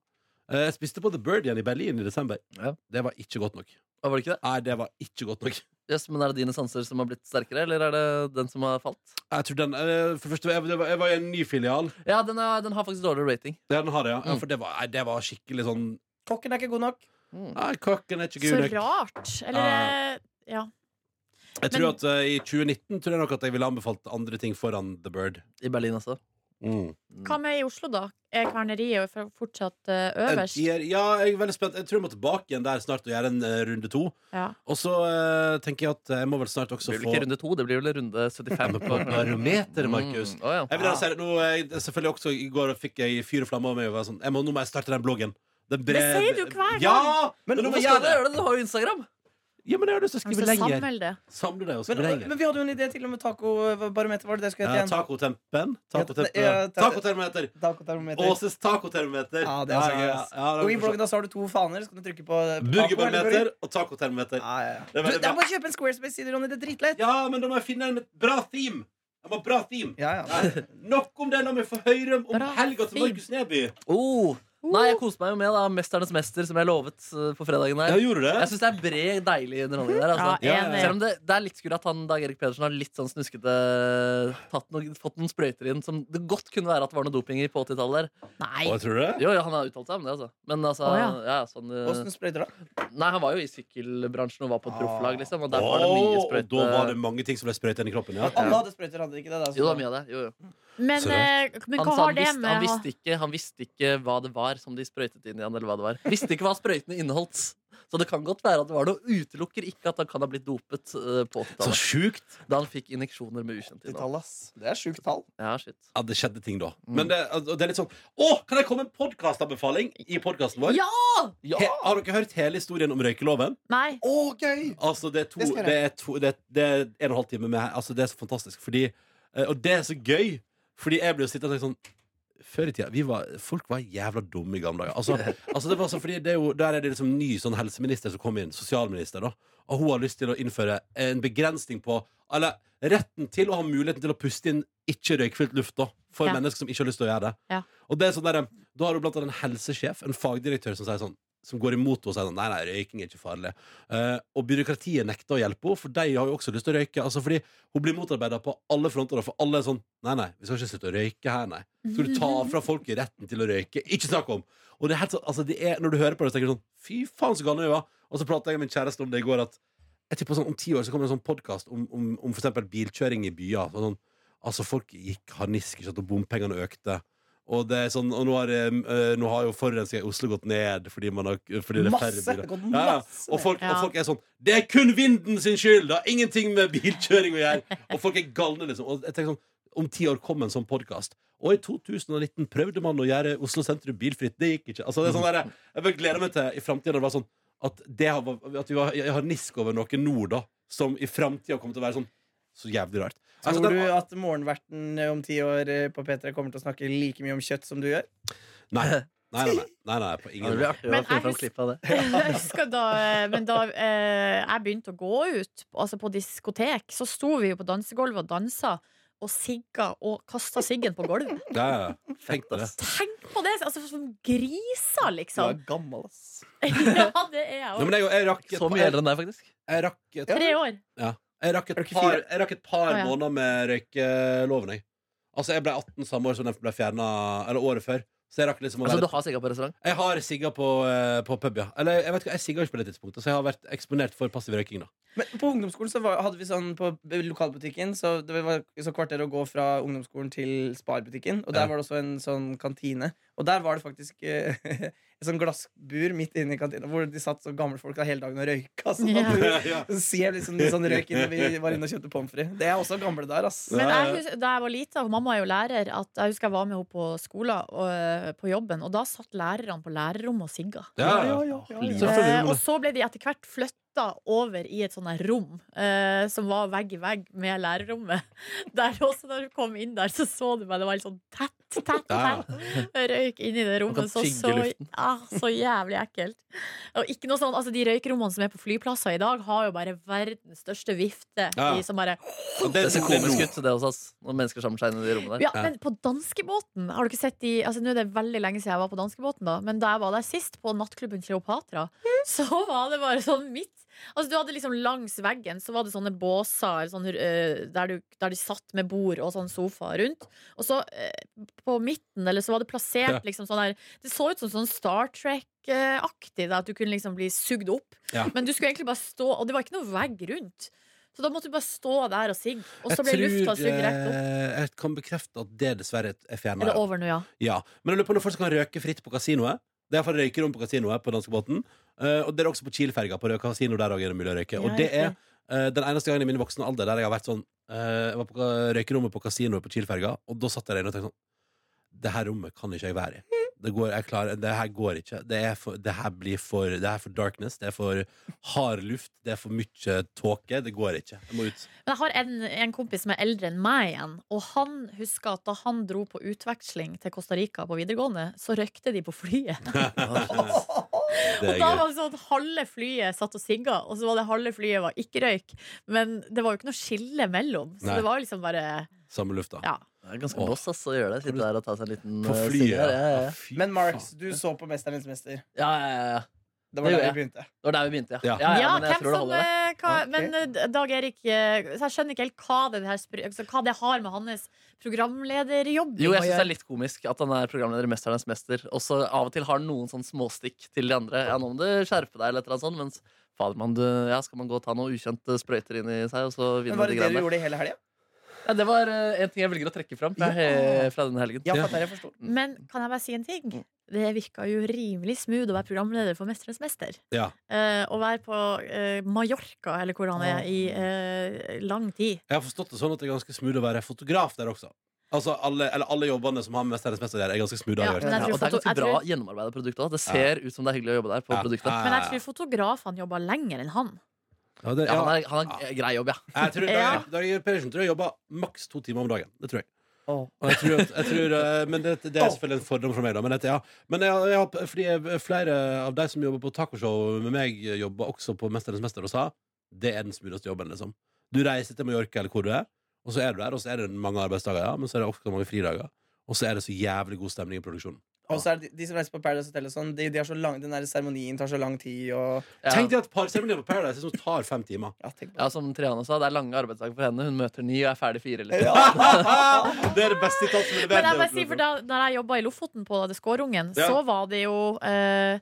Speaker 2: Eh, jeg spiste på The Bird igjen i Berlin i desember.
Speaker 4: Ja.
Speaker 2: Det var ikke godt nok.
Speaker 4: Ah, var det ikke det?
Speaker 2: Nei, det var ikke godt nok.
Speaker 4: Yes, men Er det dine sanser som har blitt sterkere, eller er det den som har falt?
Speaker 2: Jeg tror den, eh, for det første, jeg, det var, jeg var i en ny filial.
Speaker 4: Ja, den, er, den har faktisk dårligere rating.
Speaker 2: Ja, Den har jeg, ja. ja
Speaker 4: Mm.
Speaker 2: for det var, nei, det var skikkelig sånn
Speaker 5: Kokken er ikke god nok.
Speaker 2: Nei, kokken er ikke
Speaker 3: Så
Speaker 2: god nok.
Speaker 3: rart. Eller eh, ja.
Speaker 2: Jeg tror at eh, i 2019 tror jeg nok at jeg ville anbefalt andre ting foran The Bird.
Speaker 4: I Berlin også.
Speaker 2: Mm.
Speaker 3: Hva med i Oslo, da? Er kverneriet for- fortsatt eh, øverst?
Speaker 2: Jeg, ja, jeg er veldig spent. Jeg tror jeg må tilbake igjen der snart og gjøre en eh, runde to.
Speaker 3: Ja.
Speaker 2: Og så eh, tenker jeg at jeg må vel snart også
Speaker 4: Det blir vel
Speaker 2: få
Speaker 4: ikke runde to, det blir vel runde 75.
Speaker 2: på barometeret, Markus.
Speaker 4: Mm. Å, ja.
Speaker 2: Jeg vil gjerne si det nå, eh, jeg, selvfølgelig også I går fikk jeg fyr og flamme over meg. Og var sånn, jeg må, nå må jeg starte den bloggen. Den bre-
Speaker 3: Det sier du hver gang.
Speaker 2: Ja! Men,
Speaker 5: Men
Speaker 2: nå må
Speaker 4: Hvorfor
Speaker 2: jeg gjøre
Speaker 4: skal du
Speaker 2: det.
Speaker 4: gjøre det? Du har jo Instagram!
Speaker 2: Ja, men jeg har lyst til å
Speaker 3: Vi
Speaker 2: skrive
Speaker 3: skal
Speaker 2: lenger.
Speaker 3: Altså, samle det.
Speaker 2: Samle deg og
Speaker 5: Men,
Speaker 2: skrive lenger.
Speaker 5: men vi hadde jo en idé til og med tacobarometer. Var det det skulle
Speaker 2: Ja,
Speaker 5: hete
Speaker 2: Eh,
Speaker 5: igjen?
Speaker 2: Tacotempen.
Speaker 5: Ja,
Speaker 2: Tacotempen.
Speaker 5: ta-
Speaker 2: Tacotermometer.
Speaker 5: Tacotermometer.
Speaker 2: Åses tacotermometer.
Speaker 5: Ja, det er så gøy,
Speaker 2: ja,
Speaker 5: ass.
Speaker 2: ja, det er
Speaker 5: Og i
Speaker 2: morsomt.
Speaker 5: bloggen da så har du to faner. Så kan du trykke på taco eller burger.
Speaker 2: Burgerbarometer og tacotermometer.
Speaker 5: Ja, ja,
Speaker 2: Det er
Speaker 5: ja. Du,
Speaker 2: veldig
Speaker 5: det er
Speaker 2: bra.
Speaker 5: bare å kjøpe en Squarespace-side, Ronny. Det er dritlett.
Speaker 2: Ja, men da må jeg finne en med et bra theme. Jeg må ha bra theme.
Speaker 5: Ja, ja.
Speaker 2: Nei, Nok om det, la meg få høre om
Speaker 3: Bra
Speaker 2: helga til
Speaker 3: film.
Speaker 2: Markus Neby.
Speaker 4: Oh. Nei, jeg koste meg jo med da Mesternes mester, som jeg lovet eh, på fredagen. der
Speaker 2: gjorde
Speaker 4: Jeg syns det er bred, deilig underholdning der. Altså.
Speaker 3: Ja,
Speaker 2: enig.
Speaker 4: Selv om det, det er litt skummelt at han, Dag Erik Pedersen har litt sånn snuskete tatt noen, fått noen sprøyter inn som det godt kunne være at det var noe doping i på 80-tallet. der.
Speaker 3: Nei.
Speaker 2: Hva tror du det?
Speaker 4: Jo, ja, han har uttalt seg om det, altså. Men altså
Speaker 3: Å,
Speaker 4: ja.
Speaker 3: ja.
Speaker 4: sånn, eh,
Speaker 5: Åssen sprøyter da?
Speaker 4: Nei, han var jo i sykkelbransjen og var på et
Speaker 5: Ah.
Speaker 4: profflag, liksom. Og der var det mye
Speaker 2: Åh, og
Speaker 4: sprøyte.
Speaker 2: da var det mange ting som ble sprøyta inn i kroppen. Ja.
Speaker 5: Alle hadde sprøyter, hadde de ikke det? Da, så-
Speaker 4: Jo, det var mye av det. Jo, jo.
Speaker 3: Men,
Speaker 2: Så
Speaker 3: eh, men
Speaker 4: Han,
Speaker 3: hva
Speaker 4: sa
Speaker 3: har
Speaker 4: han,
Speaker 3: det
Speaker 4: visste,
Speaker 3: med
Speaker 4: han, visste ikke, han visste ikke hva det var som de sprøytet inn i han, eller hva det var. Visste ikke hva sprøytene inneholdt. Så det kan godt være at det var noe. Utelukker ikke at han kan ha blitt dopet eh, på 80-tallet.
Speaker 2: sjukt!
Speaker 4: Da han fikk injeksjoner med ukjent innhold.
Speaker 5: Tall, ass. Det er sjukt tall.
Speaker 4: Ja, shit.
Speaker 2: Ja, det skjedde ting da.
Speaker 5: Mm.
Speaker 2: Men det, og det er litt sånn Å, kan jeg komme med en podkastanbefaling i podkasten vår?
Speaker 3: Ja!
Speaker 4: Ja!
Speaker 2: He, har dere hørt hele historien om røykeloven?
Speaker 3: Nei.
Speaker 5: Å, gøy!
Speaker 2: Altså, det er to
Speaker 5: Det skal jeg
Speaker 2: Det er, to, det, det er en og en halv time med Altså, det er så fantastisk. Fordi, eh, og det er så gøy, fordi jeg blir jo sittende og tenke sånn før i tida vi var, Folk var jævla dumme i gamle dager. Altså, altså det var så, fordi det er jo, Der er det liksom ny sånn helseminister som kom inn. Sosialminister. da Og hun har lyst til å innføre en begrensning på Eller retten til å ha muligheten til å puste inn ikke-røykfylt luft da for
Speaker 3: Ja.
Speaker 2: mennesker som ikke har lyst til å gjøre det.
Speaker 3: Ja.
Speaker 2: Og det er sånn der, Da har du blant annet en helsesjef, en fagdirektør, som sier sånn som går imot henne og sier sånn, nei, nei, røyking er ikke farlig. Eh, og byråkratiet nekter å hjelpe henne, for de har jo også lyst til å røyke. Altså, fordi hun blir motarbeida på alle fronter, for alle er sånn Nei, nei, vi skal ikke slutte å røyke her, nei. Skal du ta fra folk retten til å røyke? Ikke snakk om! Og det er helt sånn, altså, det er, når du hører på det, så tenker du sånn Fy faen, så gale vi var! Og så pratet jeg med min kjæreste om det i går, at jeg tipper sånn, om ti år så kommer det en sånn podkast om, om, om for eksempel bilkjøring i byer. Sånn, sånn, altså, folk gikk harnisk, ikke sant, og bompengene økte. Og, det er sånn, og nå, har, eh, nå har jo forurensninga i Oslo gått ned fordi, man har, fordi det er færre
Speaker 5: Masse! Det
Speaker 2: biler.
Speaker 5: har gått
Speaker 2: Ja, ja.
Speaker 5: masse
Speaker 2: Og, folk, og
Speaker 3: Ja.
Speaker 2: folk er sånn Det er kun vinden sin skyld! Det har ingenting med bilkjøring å gjøre! Og folk er galne, liksom. Og jeg tenker sånn, om ti år kom en sånn podkast. Og i 2019 prøvde man å gjøre Oslo sentrum bilfritt. Det gikk ikke. Altså, det er sånn der, jeg bare gleder meg til i framtida var sånn at, det har, at vi har, jeg har nisk over noe nord, da, som i framtida kommer til å være sånn så jævlig rart. Altså,
Speaker 5: Tror
Speaker 2: den-
Speaker 5: du at morgenverten om ti år eh, på P3 kommer til å snakke like mye om kjøtt som du gjør?
Speaker 2: nei, nei, nei, nei, nei, nei, på
Speaker 4: Ja, det
Speaker 2: ingen
Speaker 4: blir artig å
Speaker 3: Men
Speaker 4: finne
Speaker 3: jeg
Speaker 4: fram klipp av det.
Speaker 3: Jeg husker da, eh, men da eh, jeg begynte å gå ut, altså på diskotek, så sto vi jo på dansegulvet og dansa. Og sigga og kasta siggen på gulvet.
Speaker 2: ja, ja, ja. Tenk på det.
Speaker 3: Tenk på det! Altså Som griser,
Speaker 5: Du er
Speaker 3: liksom.
Speaker 5: gammel, ass.
Speaker 3: Ja, det er
Speaker 2: Nei,
Speaker 3: jeg òg.
Speaker 2: men jeg, jeg rakk et
Speaker 4: Så mye
Speaker 2: par-
Speaker 4: eldre enn deg, faktisk.
Speaker 2: jeg rakk et
Speaker 3: Tre år.
Speaker 2: Jeg rakk
Speaker 5: Er
Speaker 2: et
Speaker 5: du ikke
Speaker 2: par,
Speaker 5: fire?
Speaker 2: jeg rakk et par
Speaker 3: Å, ja.
Speaker 2: måneder med røykeloven. Jeg. Altså, jeg ble 18 samme år som den ble fjerna, eller året før. Så jeg rakk liksom å
Speaker 4: Altså, du
Speaker 2: være
Speaker 4: har sigga på restaurant?
Speaker 2: Jeg har sigga på, eh, på pub, ja. Eller jeg vet ikke, jeg sigga ikke på det tidspunktet, så jeg har vært eksponert for passiv røyking, da.
Speaker 5: Men på ungdomsskolen så var, hadde vi sånn på b- lokalbutikken Så det var så kvarter å gå fra ungdomsskolen til sparbutikken Og der
Speaker 2: Ja.
Speaker 5: var det også en sånn kantine Og der var det faktisk eh, Et sånn glassbur midt inne i kantina Hvor de satt så gamle folk der hele dagen og røyka sånn at
Speaker 3: Ja.
Speaker 2: Ja.
Speaker 5: du ser liksom litt sånn røyk inne Vi var inne og kjøpte pomfri Det er også gamle der, ass
Speaker 3: Men
Speaker 2: Ja, ja.
Speaker 3: jeg husker, da jeg var lita, og mamma er jo lærer at Jeg husker jeg var med henne på skolen og eh, på jobben, og da satt lærerne på lærerrommet og sigga.
Speaker 5: Ja, ja, ja, ja, ja.
Speaker 2: Livet.
Speaker 3: Eh, og så ble de etter hvert flytta over i et sånt her rom eh, som var vegg i vegg med lærerrommet. Der også Når du kom inn der, så så du meg. Det var litt sånn tett, tett,
Speaker 2: Ja.
Speaker 3: tett røyk inni det
Speaker 4: Man
Speaker 3: rommet.
Speaker 4: kan
Speaker 3: Så,
Speaker 4: tygge
Speaker 3: så,
Speaker 4: luften.
Speaker 3: ah, så jævlig ekkelt. Og ikke noe sånn, altså De røykrommene som er på flyplasser i dag, har jo bare verdens største vifte.
Speaker 2: Ja.
Speaker 3: I, som bare,
Speaker 2: Og det
Speaker 4: Det ser
Speaker 2: tok det
Speaker 4: komisk
Speaker 2: nå.
Speaker 4: ut, det også, ass. Når mennesker samler seg inn i de rommene der.
Speaker 3: ja, Men på danskebåten Har du ikke sett de altså, Nå er det veldig lenge siden jeg var på danskebåten, da, men da jeg var der sist, på nattklubben Kleopatra,
Speaker 2: Mm.
Speaker 3: så var det bare sånn midt Altså Du hadde liksom langs veggen Så var det sånne båser sånne, eh, der, du, der de satt med bord og sånn sofa rundt. Og så eh, på midten Eller så var det
Speaker 2: Ja.
Speaker 3: plassert liksom sånn der Det så ut som sånn Star Trek-aktig, da, at du kunne liksom bli sugd opp.
Speaker 2: Ja.
Speaker 3: Men du skulle egentlig bare stå, og det var ikke noe vegg rundt. Så da måtte du bare stå der og sigge, og så
Speaker 2: Jeg
Speaker 3: ble lufta
Speaker 2: tror
Speaker 3: sugd rett opp.
Speaker 2: eh, jeg kan bekrefte at det dessverre er
Speaker 3: Er det
Speaker 2: fjerna.
Speaker 3: over nå, ja?
Speaker 2: Ja. Men jeg lurer på når folk kan røyke fritt på kasinoet. Det er iallfall røykerom på kasinoet på danskebåten. Eh, og det er også på Kiel-ferga. På kasino der også er det mulig å røyke. Og
Speaker 3: Ja,
Speaker 2: det er
Speaker 3: riktig.
Speaker 2: Eh, Den eneste gangen i min voksne alder der jeg har vært sånn eh, Jeg var på ka- røykerommet på kasinoet på Kielferga, og da satt jeg der inne og tenkte sånn Det her rommet kan ikke jeg være i. Det, går, jeg klarer, det her går ikke. Det, er for, det her blir for Det er for darkness. Det er for hard luft. Det er for mye tåke. Det går ikke. Jeg må ut.
Speaker 3: Men jeg har en, en kompis som er eldre enn meg igjen, og han husker at da han dro på utveksling til Costa Rica på videregående, så røykte de på flyet.
Speaker 2: Det
Speaker 3: Og
Speaker 2: er
Speaker 3: da
Speaker 2: gøy.
Speaker 3: var det sånn at halve flyet satt og sigga, og så var det halve flyet var ikke røyk. Men det var jo ikke noe skille mellom, så
Speaker 2: Nei.
Speaker 3: det var jo liksom bare
Speaker 2: Samme lufta.
Speaker 3: Ja.
Speaker 4: Det er ganske boss ass, å gjøre det. Sitte der og ta seg en liten
Speaker 2: På
Speaker 4: eh,
Speaker 2: flyet.
Speaker 4: sigg der. Ja, ja, ja.
Speaker 2: Fy
Speaker 5: Men Marks, du så på Mesterens Mester
Speaker 4: Ja, ja, ja, ja. Det
Speaker 5: Det var der
Speaker 4: gjorde
Speaker 5: vi begynte
Speaker 4: Det var der vi begynte, ja.
Speaker 2: Ja.
Speaker 4: ja,
Speaker 3: ja,
Speaker 4: men jeg
Speaker 3: hvem
Speaker 4: tror det
Speaker 3: som
Speaker 4: holder, det.
Speaker 3: eh, hva,
Speaker 5: Ok.
Speaker 3: Men eh, Dag Erik eh, Så jeg skjønner ikke helt hva det, her, spr- altså, hva det har med hans programlederjobb
Speaker 4: Jo, jeg
Speaker 3: å
Speaker 4: synes det er
Speaker 3: gjøre.
Speaker 4: litt komisk at han er programleder i Mesternes mester. Og så av og til har han noen sånn småstikk til de andre. Ja, nå må du skjerpe deg, eller et eller annet sånt. Mens fader, man, du, ja, skal man gå og ta noen ukjente sprøyter inn i seg, og så
Speaker 5: Men
Speaker 4: vinne
Speaker 5: var
Speaker 4: de
Speaker 5: det det du
Speaker 4: greiene der.
Speaker 5: gjorde hele helgen?
Speaker 4: Ja, det var eh, en ting jeg velger å trekke fram fra,
Speaker 5: Ja.
Speaker 4: he- fra denne helgen.
Speaker 5: Ja,
Speaker 2: Ja.
Speaker 5: fattar jeg forstod
Speaker 3: Men kan jeg bare si en ting? Det virka jo rimelig smooth å være programleder for Mesterens mester.
Speaker 2: Ja.
Speaker 3: Eh, Å være på eh, Mallorca, eller hvor han er, i eh, lang tid.
Speaker 2: Jeg har forstått det sånn at det er ganske smooth å være fotograf der også. Altså, alle, eller alle jobbene som har med Mesternes mester der, er ganske smooth.
Speaker 3: Ja,
Speaker 2: har jeg hørt.
Speaker 3: men jeg
Speaker 4: Ja,
Speaker 3: tror
Speaker 4: og det er
Speaker 3: foto-
Speaker 4: ganske
Speaker 3: jeg
Speaker 4: bra
Speaker 3: tror-
Speaker 4: gjennomarbeida produkt òg. Det ser ut som det er hyggelig å jobbe der. på
Speaker 2: Ja.
Speaker 4: produktet
Speaker 2: Ja,
Speaker 3: Men
Speaker 2: ja,
Speaker 3: jeg
Speaker 2: ja.
Speaker 3: tror fotografene jobba lenger enn han.
Speaker 2: Ja, det-
Speaker 4: ja,
Speaker 2: ja.
Speaker 4: han, er, han har grei jobb, ja.
Speaker 2: Jeg tror
Speaker 3: Ja.
Speaker 2: Dag- Dag Erik Pedersen tror jeg jobber maks to timer om dagen. Det tror jeg. Og jeg tror, at- jeg tror, eh, men det, det er selvfølgelig en fordom fra meg, da. Men, at, ja. men jeg, jeg, har- fordi jeg, flere av de som jobber på tacoshow med meg, jobber også på Mesternes mester og sa det er den smootheste jobben. liksom Du reiser til Mallorca eller hvor du er, og så er du der, og så er det mange arbeidsdager, ja, men så er det ofte mange fridager. Og så er det så jævlig god stemning i produksjonen.
Speaker 5: Og så er det de, de som reiser på Paradise Hotel, og sånn, de, de har så lang, den der seremonien tar så lang tid. Og,
Speaker 4: Ja.
Speaker 2: Tenk deg at parseremonier på Paradise sånn som tar fem timer.
Speaker 5: ja, tenk på det.
Speaker 4: Ja, som Triana sa, det er lange arbeidsdager for henne. Hun møter ni og er ferdig fire. Liksom.
Speaker 2: Det er det beste tallet som er
Speaker 3: Men jeg
Speaker 2: levert.
Speaker 3: bare sier, for da, da jeg jobba i Lofoten på Skårungen,
Speaker 2: Ja.
Speaker 3: så var det jo eh,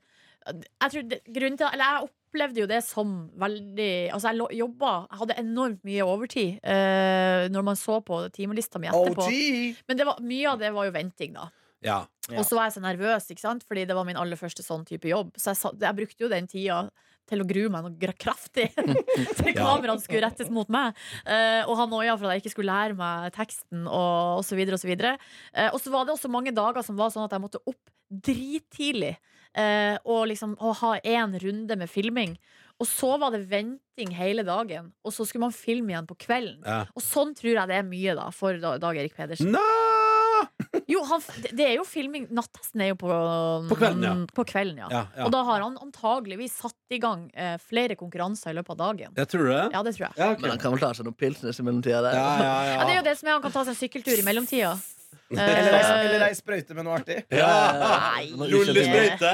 Speaker 3: Jeg tror det, grunnen til Eller jeg opplevde jo det som veldig Altså, jeg lo- jobba Jeg hadde enormt mye overtid eh, når man så på timelista mi etterpå.
Speaker 5: OG!
Speaker 3: Men det var, mye av det var jo venting, da.
Speaker 2: Ja.
Speaker 5: Ja.
Speaker 3: Og så var jeg så nervøs, ikke sant? fordi det var min aller første sånn type jobb. Så jeg, sa, jeg brukte jo den tida til å grue meg noe gra- kraftig til kameraene skulle rettes mot meg. Eh, og han noia for at jeg ikke skulle lære meg teksten og, og så videre og så videre. Eh, og så var det også mange dager som var sånn at jeg måtte opp drittidlig eh, og liksom å ha én runde med filming. Og så var det venting hele dagen, og så skulle man filme igjen på kvelden.
Speaker 2: ja.
Speaker 3: Og sånn tror jeg det er mye da for da- Dag Erik Pedersen.
Speaker 2: Nå!
Speaker 3: Jo, han, det- det er jo filming Nattesten er jo på, um,
Speaker 2: På kvelden, ja.
Speaker 3: på kvelden, ja.
Speaker 2: Ja, ja.
Speaker 3: Og da har han antageligvis satt i gang eh, flere konkurranser i løpet av dagen.
Speaker 2: Jeg tror det.
Speaker 3: Ja, det tror jeg.
Speaker 2: Ja, ok.
Speaker 4: Men han kan vel ta seg noen pilsners i mellomtida der.
Speaker 2: ja, ja,
Speaker 3: Ja, det er jo det som er, han kan ta seg en sykkeltur i mellomtida. Eh,
Speaker 5: Eller ei- Eller ei sprøyte med noe artig.
Speaker 3: Nei.
Speaker 4: Noe ukjent navn.
Speaker 2: Lollesprøyte!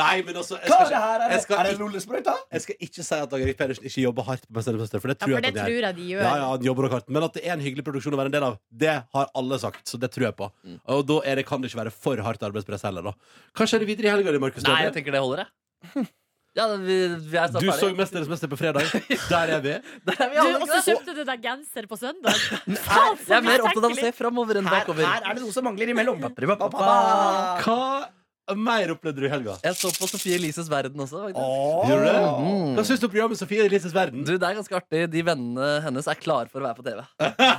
Speaker 2: Nei, men altså jeg
Speaker 5: Hva
Speaker 2: skal,
Speaker 5: er det her? Er
Speaker 2: jeg
Speaker 5: det,
Speaker 2: skal
Speaker 5: er det
Speaker 2: ikke-
Speaker 5: lollesprøyta?
Speaker 2: jeg skal ikke si at Dag Erik Pedersen ikke jobber hardt, på Mesternes mester, for det
Speaker 3: Ja,
Speaker 2: tror
Speaker 3: for
Speaker 2: jeg
Speaker 3: det
Speaker 2: at han gjør.
Speaker 3: tror jeg de gjør.
Speaker 2: Ja, ja, han jobber nok hardt Men at det er en hyggelig produksjon å være en del av, det har alle sagt. Så det tror jeg på. Og da er det, kan det ikke være for hardt arbeidspress heller, da. Hva skjer videre i helga, Markus?
Speaker 4: Nei,
Speaker 2: Neby?
Speaker 4: jeg tenker det holder, jeg. Ja, det- vi, vi er snart
Speaker 2: Du så
Speaker 4: ferdig.
Speaker 2: Mesternes mester på fredag. Der er vi.
Speaker 4: Der er vi
Speaker 3: Du,
Speaker 4: alle,
Speaker 3: og
Speaker 4: ikke
Speaker 3: så
Speaker 4: det?
Speaker 3: kjøpte du deg genser på søndag.
Speaker 4: Nei, Jeg er mer opptatt av å se framover enn
Speaker 5: Her,
Speaker 4: bakover.
Speaker 5: her er det noe som mangler imellom.
Speaker 4: ba.
Speaker 2: Hva mer opplevde du i helga?
Speaker 4: Jeg så på Sofie Elises verden også. faktisk.
Speaker 2: Gjorde du det?
Speaker 4: Mm.
Speaker 2: Hva syns du om programmet Sofie Elises verden?
Speaker 4: Du, Det er ganske artig. De vennene hennes er klare for å være på TV.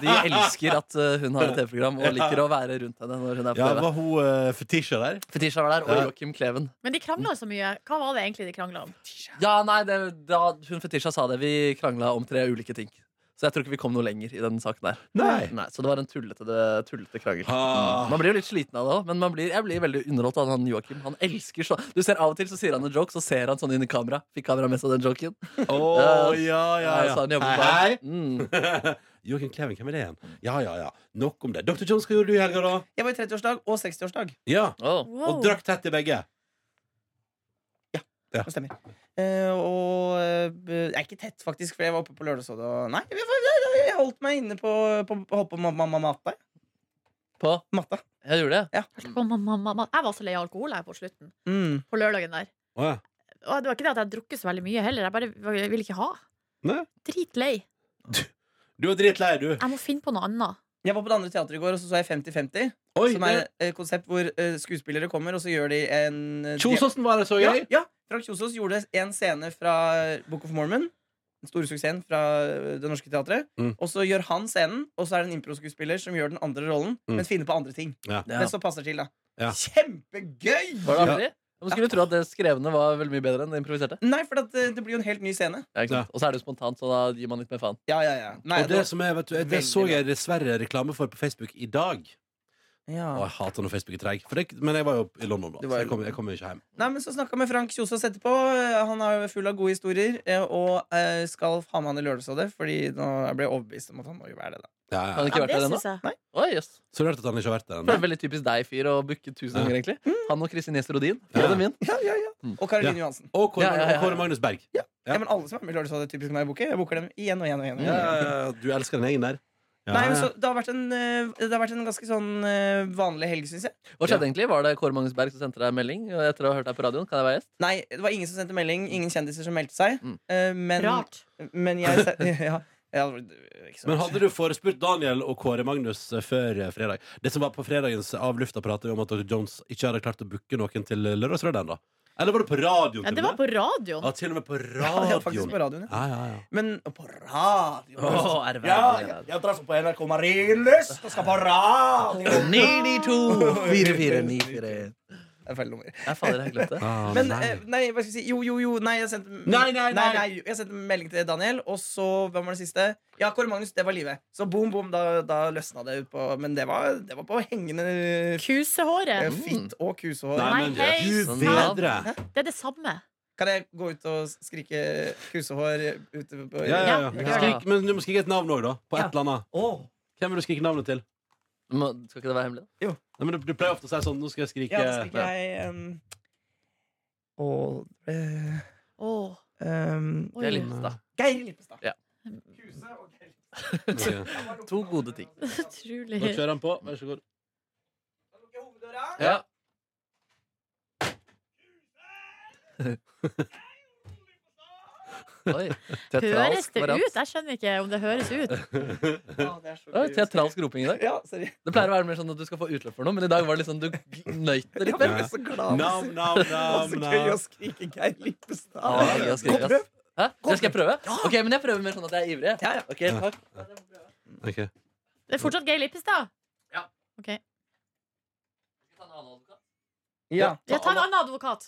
Speaker 4: De elsker at uh, hun har et TV-program og liker å være rundt henne når hun er på
Speaker 2: Ja,
Speaker 4: TV.
Speaker 2: Var hun uh, fetisja der?
Speaker 4: Fetisha var der, og
Speaker 2: Ja.
Speaker 4: Joakim Kleven.
Speaker 3: Men de krangla så mye. Hva var det egentlig de krangla om?
Speaker 4: Ja, nei, det, da hun Fetisha sa det. Vi krangla om tre ulike ting. Så jeg tror ikke vi kom noe lenger i den saken der.
Speaker 2: Nei.
Speaker 4: så det var en tullete, det- tullete krangel.
Speaker 2: Ah.
Speaker 4: Man blir jo litt sliten av det òg, men man blir, jeg blir veldig underholdt av han Joakim. Han elsker så Du ser Av og til så sier han en joke, så ser han sånn inn i kamera. Fikk kamera med seg den joken.
Speaker 2: Å, ja, ja,
Speaker 4: Så han
Speaker 2: ja.
Speaker 4: jobber
Speaker 2: Hei,
Speaker 4: bare- Mm.
Speaker 2: hei. Joakim Kleven, hvem er det igjen? Ja, ja, ja. Nok om det. Dr. Jones, hva gjorde du i helga, da?
Speaker 5: Jeg var i 30-årsdag og 60-årsdag.
Speaker 2: Ja.
Speaker 4: Å.
Speaker 2: Og drakk tett i begge.
Speaker 5: Det stemmer. Eh, og eh, jeg er ikke tett, faktisk, for jeg var oppe på lørdagsrådet og Nei, jeg, var- jeg holdt meg inne på, på, på, på ma- ma- ma- matta. jeg.
Speaker 4: På.
Speaker 5: Matta.
Speaker 4: Jeg gjorde det.
Speaker 3: Mamma, mamma, mamma. Jeg var så lei av alkohol her på slutten.
Speaker 5: Mm.
Speaker 3: På lørdagen der.
Speaker 2: Å, ja.
Speaker 3: Og det var ikke det at jeg drukket så veldig mye heller. Jeg bare jeg ville ikke ha.
Speaker 2: Nei.
Speaker 3: Dritlei.
Speaker 2: Du var dritlei, du.
Speaker 3: Jeg må finne på noe annet.
Speaker 5: Jeg var på det andre teatret i går, og så så jeg 50-50.
Speaker 2: Oi,
Speaker 5: Som er et konsept hvor eh, skuespillere kommer, og så gjør de en eh,
Speaker 2: det- Kjosåsen var det så
Speaker 5: Ja,
Speaker 2: gøy.
Speaker 5: ja. Frank Kjosås gjorde en scene fra Book of Mormon. Den store suksessen fra eh, Det Norske Teatret.
Speaker 2: Mm.
Speaker 5: Og så gjør han scenen, og så er det en improskuespiller som gjør den andre rollen,
Speaker 2: Mm.
Speaker 5: men finner på andre ting.
Speaker 2: Ja.
Speaker 5: Men så passer til, da.
Speaker 2: Ja.
Speaker 5: Kjempegøy!
Speaker 4: Var det artig? Man skulle tro at det skrevne var veldig mye bedre enn det improviserte.
Speaker 5: Nei, for at eh, det blir jo en helt ny scene.
Speaker 4: Ja, ikke sant? Og så er det jo spontant, så da gir man litt mer faen.
Speaker 5: Ja, ja, ja. Nei,
Speaker 2: Og det som er, vet du, det
Speaker 5: Veldig
Speaker 2: så jeg dessverre reklame for på Facebook i dag.
Speaker 5: ja.
Speaker 2: Å, jeg hater når Facebook er treig. For det- Men jeg var jo i London, da.
Speaker 5: Du var
Speaker 2: Så
Speaker 5: i
Speaker 2: jeg kom, jeg kom jo ikke hjem.
Speaker 5: Nei, men Så snakka med Frank Kjosås etterpå. Eh, Han er jo full av gode historier. eh, Og eh, skal ha med han i Lørdagsrådet, Fordi nå ble jeg overbevist om at han må jo være det. da
Speaker 2: Ja,
Speaker 4: Har
Speaker 2: ja.
Speaker 4: han ikke
Speaker 3: Ja,
Speaker 4: vært
Speaker 3: det
Speaker 4: der ennå?
Speaker 3: syns jeg.
Speaker 4: Oi, jøss.
Speaker 2: Så rart at han ikke har vært der
Speaker 4: Det er
Speaker 2: ennå.
Speaker 4: veldig typisk deg, fyr, å booke tusen ganger, egentlig. Han og Kristin Gjester Odin.
Speaker 2: Mm. Ja.
Speaker 4: Ja. Min.
Speaker 5: Ja, ja, ja.
Speaker 4: Mm.
Speaker 5: Og Karoline Johansen.
Speaker 2: Og Kåre,
Speaker 4: Ja, ja, ja, ja.
Speaker 2: og Kåre Magnus Berg. Ja.
Speaker 5: Ja. men Alle som er med i Lørdagsrådet, typisk når jeg booker. Jeg booker dem igjen og igjen. og igjen, og
Speaker 2: Ja,
Speaker 5: igjen.
Speaker 2: ja, ja, du elsker din egen der. Ja,
Speaker 5: Nei, men
Speaker 2: ja.
Speaker 5: så, det, har vært en, eh, det har vært en ganske sånn eh, vanlig helg, syns jeg.
Speaker 4: Hva skjedde egentlig? Var det Kåre Magnus Berg som sendte deg en melding og etter å ha hørt deg på radioen? Kan jeg være gjest?
Speaker 5: Nei, det var ingen som sendte melding. Ingen kjendiser som meldte seg.
Speaker 4: Mm.
Speaker 5: Eh, men,
Speaker 3: Rart.
Speaker 5: men jeg se- ja, ja, det var ikke så
Speaker 2: Men
Speaker 5: rart.
Speaker 2: hadde du forespurt Daniel og Kåre Magnus eh, før eh, fredag Det som var på fredagens avlufta pratet vi om at Dr. Jones ikke hadde klart å booke noen til Lørdagsrevyen da Eller var det på radioen?
Speaker 3: Ja,
Speaker 2: til
Speaker 3: det
Speaker 2: og
Speaker 3: var
Speaker 2: med?
Speaker 3: på radioen.
Speaker 2: Ja, til og med på
Speaker 5: Ja, det var faktisk
Speaker 2: radioen
Speaker 5: på radioen. Ja.
Speaker 2: Ja, ja, ja
Speaker 5: Men på radioen
Speaker 4: Åh, er det verre?
Speaker 5: jeg, jeg traff på NRK Marienlyst og skal på radio!
Speaker 4: 92-4494.
Speaker 5: Det er feil nummer.
Speaker 4: Jeg fader, jeg har glemt det.
Speaker 2: Ah,
Speaker 5: Men
Speaker 2: nei.
Speaker 5: eh, nei, hva skal jeg si? Jo, jo, jo. Nei, jeg sendte,
Speaker 2: Nei, nei, nei.
Speaker 5: jeg sendte melding til Daniel, og så Hvem var det siste? Ja, Kåre Magnus. Det var livet. Så boom, boom, da, da løsna det ut på Men det var, det var på hengende eh,
Speaker 3: Kusehåret.
Speaker 5: fitt og kusehår.
Speaker 2: Mm. Nei,
Speaker 3: Nei,
Speaker 2: men du
Speaker 3: hei,
Speaker 5: sånn
Speaker 4: sann.
Speaker 2: bedre
Speaker 3: Det er det samme.
Speaker 5: Kan jeg gå ut og skrike kusehår ute på
Speaker 2: ja, ja, ja.
Speaker 3: Ja,
Speaker 2: Skrik, Men du må skrike et navn også da På et
Speaker 5: Ja.
Speaker 2: eller annet
Speaker 5: Åh.
Speaker 2: Hvem vil du skrike navnet til?
Speaker 4: Må, skal ikke det være hemmelig? da?
Speaker 2: Nei, men du, du pleier ofte å si sånn Nå skal jeg skrike.
Speaker 5: Ja, da stikker jeg um, og eh,
Speaker 3: Åh,
Speaker 5: um,
Speaker 3: oi.
Speaker 4: Det er litt, da.
Speaker 5: Geir Lippestad.
Speaker 4: Ja.
Speaker 5: Kuse og Geir Lippestad.
Speaker 2: Ja. Ok.
Speaker 4: To gode ting.
Speaker 3: Utrolig.
Speaker 2: Da kjører han på. Vær så god.
Speaker 5: Da lukker jeg hoveddøra.
Speaker 4: Ja. Oi. Teatralsk
Speaker 3: Høres det
Speaker 4: variant.
Speaker 3: ut? Jeg skjønner ikke om det høres ut.
Speaker 5: Ah, det er så
Speaker 4: Det var
Speaker 5: gøy.
Speaker 4: teatralsk roping i dag.
Speaker 5: Ja, sorry.
Speaker 4: Det pleier å være mer sånn at du skal få utløp for noe, men i dag var det liksom du nøyt det litt
Speaker 5: Jeg ble
Speaker 4: mer.
Speaker 2: Ja.
Speaker 5: så glad.
Speaker 2: Nam, nam, nam,
Speaker 5: Det var så gøy å
Speaker 2: nam.
Speaker 5: skrike Geir Lippestad.
Speaker 4: Ja, det var gøy å skrike,
Speaker 5: Godt
Speaker 4: ass.
Speaker 5: prøvd.
Speaker 4: Hæ? Det skal jeg prøve? Ok, men jeg prøver mer sånn at jeg er ivrig.
Speaker 5: Ja, ja.
Speaker 4: Ok, takk.
Speaker 2: Ok.
Speaker 3: Det er fortsatt Geir Lippestad.
Speaker 5: Ja.
Speaker 3: Ja, ta en annen advokat.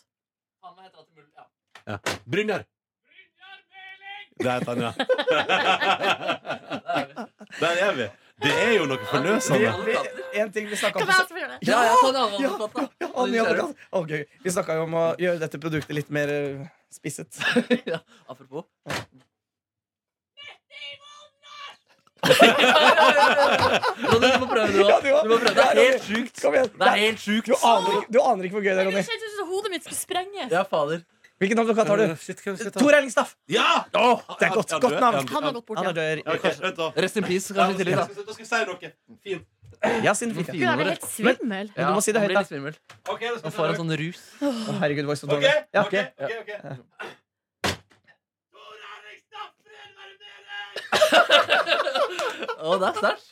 Speaker 2: Ja. Brynjar! Der heter han, ja. Der er vi. Det er jo noe
Speaker 5: Vi,
Speaker 2: forløsende.
Speaker 5: vi, en ting vi snakka
Speaker 3: Kan
Speaker 5: om
Speaker 3: jeg også få gjøre det?
Speaker 4: Ja, jeg tar en annen
Speaker 5: Ja,
Speaker 4: advokat, da.
Speaker 5: ja, Annie Advokat. Å, gøy. Vi snakka jo om å gjøre dette produktet litt mer eh, spisset.
Speaker 4: Ja, apropos. Ronny, du må prøve, du
Speaker 5: Ja,
Speaker 4: òg. Du
Speaker 5: du også.
Speaker 4: må prøve. Det er
Speaker 5: Ja,
Speaker 4: helt
Speaker 5: Ronny.
Speaker 4: sjukt.
Speaker 5: Kom igjen.
Speaker 4: Det er helt sjukt.
Speaker 5: Du aner, ikke, du aner ikke hvor gøy det er,
Speaker 3: Det
Speaker 5: Ronny.
Speaker 3: kjentes ut som hodet mitt skulle sprenges.
Speaker 4: Ja, fader.
Speaker 5: Hvilken advokat har du?
Speaker 2: Shit, hvem skal jeg ta?
Speaker 5: Tor Erling Staff.
Speaker 2: Ja!
Speaker 5: Det er
Speaker 2: Han-
Speaker 5: godt-
Speaker 2: han
Speaker 5: godt
Speaker 2: dør.
Speaker 5: navn.
Speaker 2: Han-
Speaker 3: Han har gått bort,
Speaker 5: Han
Speaker 3: ja.
Speaker 5: er dør.
Speaker 2: Ja, ok, vent da.
Speaker 4: Rest in peace,
Speaker 2: Ja,
Speaker 4: kanskje i
Speaker 2: da skal
Speaker 4: tillegg. da.
Speaker 2: jeg- da skal jeg si noe. Fint.
Speaker 5: Ja, siden fikk jeg.
Speaker 3: Gud, jeg blir helt svimmel.
Speaker 5: Men du må si det
Speaker 4: han
Speaker 5: høyt,
Speaker 4: blir
Speaker 5: da.
Speaker 4: litt svimmel.
Speaker 2: Ok, da skal
Speaker 4: Han
Speaker 2: jeg
Speaker 4: får
Speaker 2: si
Speaker 4: en
Speaker 2: noe.
Speaker 4: sånn rus.
Speaker 5: Å, herregud, det var så
Speaker 2: Ok,
Speaker 5: dårlig. Ja,
Speaker 2: ok,
Speaker 5: ok.
Speaker 2: ok, ok.
Speaker 4: Å, det er sterkt.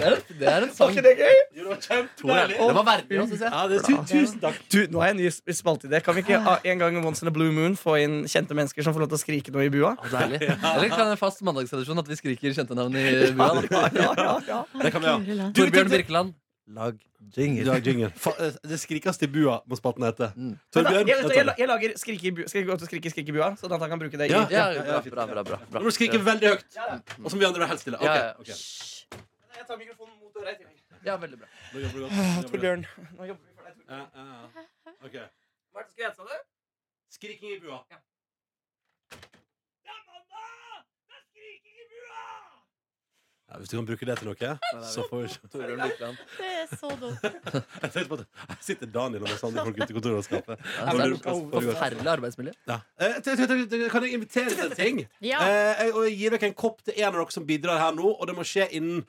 Speaker 4: Det er, det er en
Speaker 5: Var
Speaker 4: sang.
Speaker 5: ikke det gøy?
Speaker 2: Jo, det var
Speaker 4: Tor Erling.
Speaker 2: kjempedeilig.
Speaker 4: Det var verdig òg, syns jeg.
Speaker 2: Ja, det, tu, tusen takk.
Speaker 5: Du, nå har jeg en ny spalteidé. Kan vi ikke ah, en gang once in a blue moon få inn kjente mennesker som får lov til å skrike noe i bua?
Speaker 4: Å, Deilig. Eller kan en fast mandagstradisjon at vi skriker kjente navn i bua? da.
Speaker 5: Ja, ja, ja, ja.
Speaker 2: Det kan vi ha.
Speaker 3: Guri land.
Speaker 4: Torbjørn Birkeland. Lag jingle.
Speaker 2: Dag Jingen. Fa- eh, Det skrikes til bua, må spalten hete.
Speaker 4: Mm.
Speaker 5: Jeg,
Speaker 2: Torbjørn. da
Speaker 5: jeg,
Speaker 2: tar
Speaker 5: jeg,
Speaker 2: vi.
Speaker 5: jeg lager skrike i bua, skal jeg gå til å skrike, skrike i bua, sånn at han kan bruke det i
Speaker 2: Ja.
Speaker 4: Ja, bra, bra, bra. bra,
Speaker 2: Nå
Speaker 4: bra.
Speaker 2: må du skrike veldig høyt. Og så må vi andre være helt stille.
Speaker 4: Ja, ja.
Speaker 2: Ok, ok.
Speaker 5: Jeg tar mikrofonen mot døra i tillegg.
Speaker 4: Ja, veldig bra.
Speaker 2: Nå jobber du godt. Nå jobber du godt.
Speaker 5: Torbjørn. Nå jobber vi for deg, Torbjørn.
Speaker 2: Ja, ja, ja. Ok.
Speaker 5: Hva er det du skulle hete, sa du?
Speaker 2: Skriking i bua. Ja, hvis du kan bruke det til noe, så får vi ikke
Speaker 4: Torbjørn Birkeland.
Speaker 3: Det er så dumt.
Speaker 2: Jeg tenkte på at her sitter Daniel og masse andre folk ute i kontoret og skaper.
Speaker 4: Ja, det er et Forferdelig arbeidsmiljø.
Speaker 2: Ja. Eh, t- t- t- Kan jeg invitere til en ting?
Speaker 3: Ja.
Speaker 2: Eh, jeg- og jeg gir dere en kopp til en av dere som bidrar her nå, og det må skje innen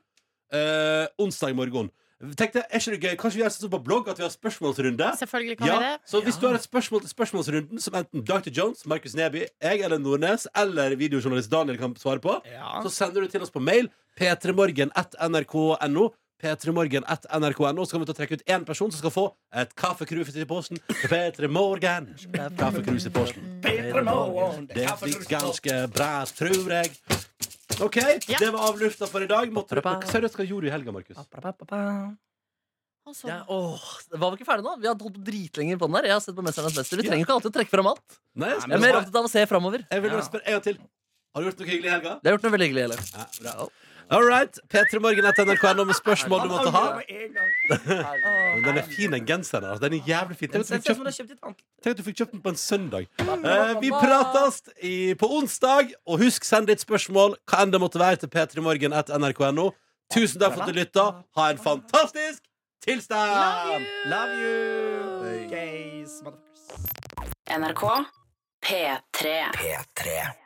Speaker 2: eh, onsdag morgen. Tenkte, er ikke det gøy? Kanskje vi gjør sånn som på blogg at vi har spørsmålsrunde?
Speaker 3: Selvfølgelig kan vi
Speaker 2: Ja,
Speaker 3: det.
Speaker 2: så hvis du har et spørsmål til spørsmålsrunden, som enten Dr. Jones, Markus Neby, jeg eller Nordnes eller videojournalist Daniel kan svare på,
Speaker 5: Ja.
Speaker 2: så sender du til oss på mail p3morgen.nrk.no. P3morgen.nrk.no Så kan vi ta og trekke ut én person som skal få et kaffekrus i posten. P3morgen. Kaffekrus i posten. Det blir ganske bra, tror jeg. OK,
Speaker 3: Ja.
Speaker 2: det var avlufta for i dag. Måtte du, seriøst, hva gjorde du i helga, Markus?
Speaker 3: Han så-
Speaker 4: Ja, åh, var vi ikke ferdige nå? Vi har holdt på dritlenge på den der. Jeg har sett på Mesternes mester. Vi trenger ikke alltid å trekke fram alt.
Speaker 2: Nei, jeg
Speaker 4: Jeg er
Speaker 2: spør-
Speaker 4: mer opptatt av å se framover.
Speaker 2: jeg vil bare spørre en gang til. Har du gjort noe hyggelig i helga?
Speaker 4: Det har gjort noe veldig hyggelig. Eller?
Speaker 2: Ja, bra. All right. P3morgen etter NRK.no med spørsmål du måtte ha. Den er fin, den genseren. Altså. Den er jævlig fin. Tenk at du fikk kjøpt- tenk at du fikk kjøpt den på en søndag. Eh, vi prates i, på onsdag, og husk, send ditt spørsmål hva enn det måtte være, til p3morgen etter nrk.no. Tusen takk for at du lytta. Ha en fantastisk tilstand!
Speaker 5: Love you! Gays, motherfuckers.
Speaker 1: NRK P3.
Speaker 6: P3.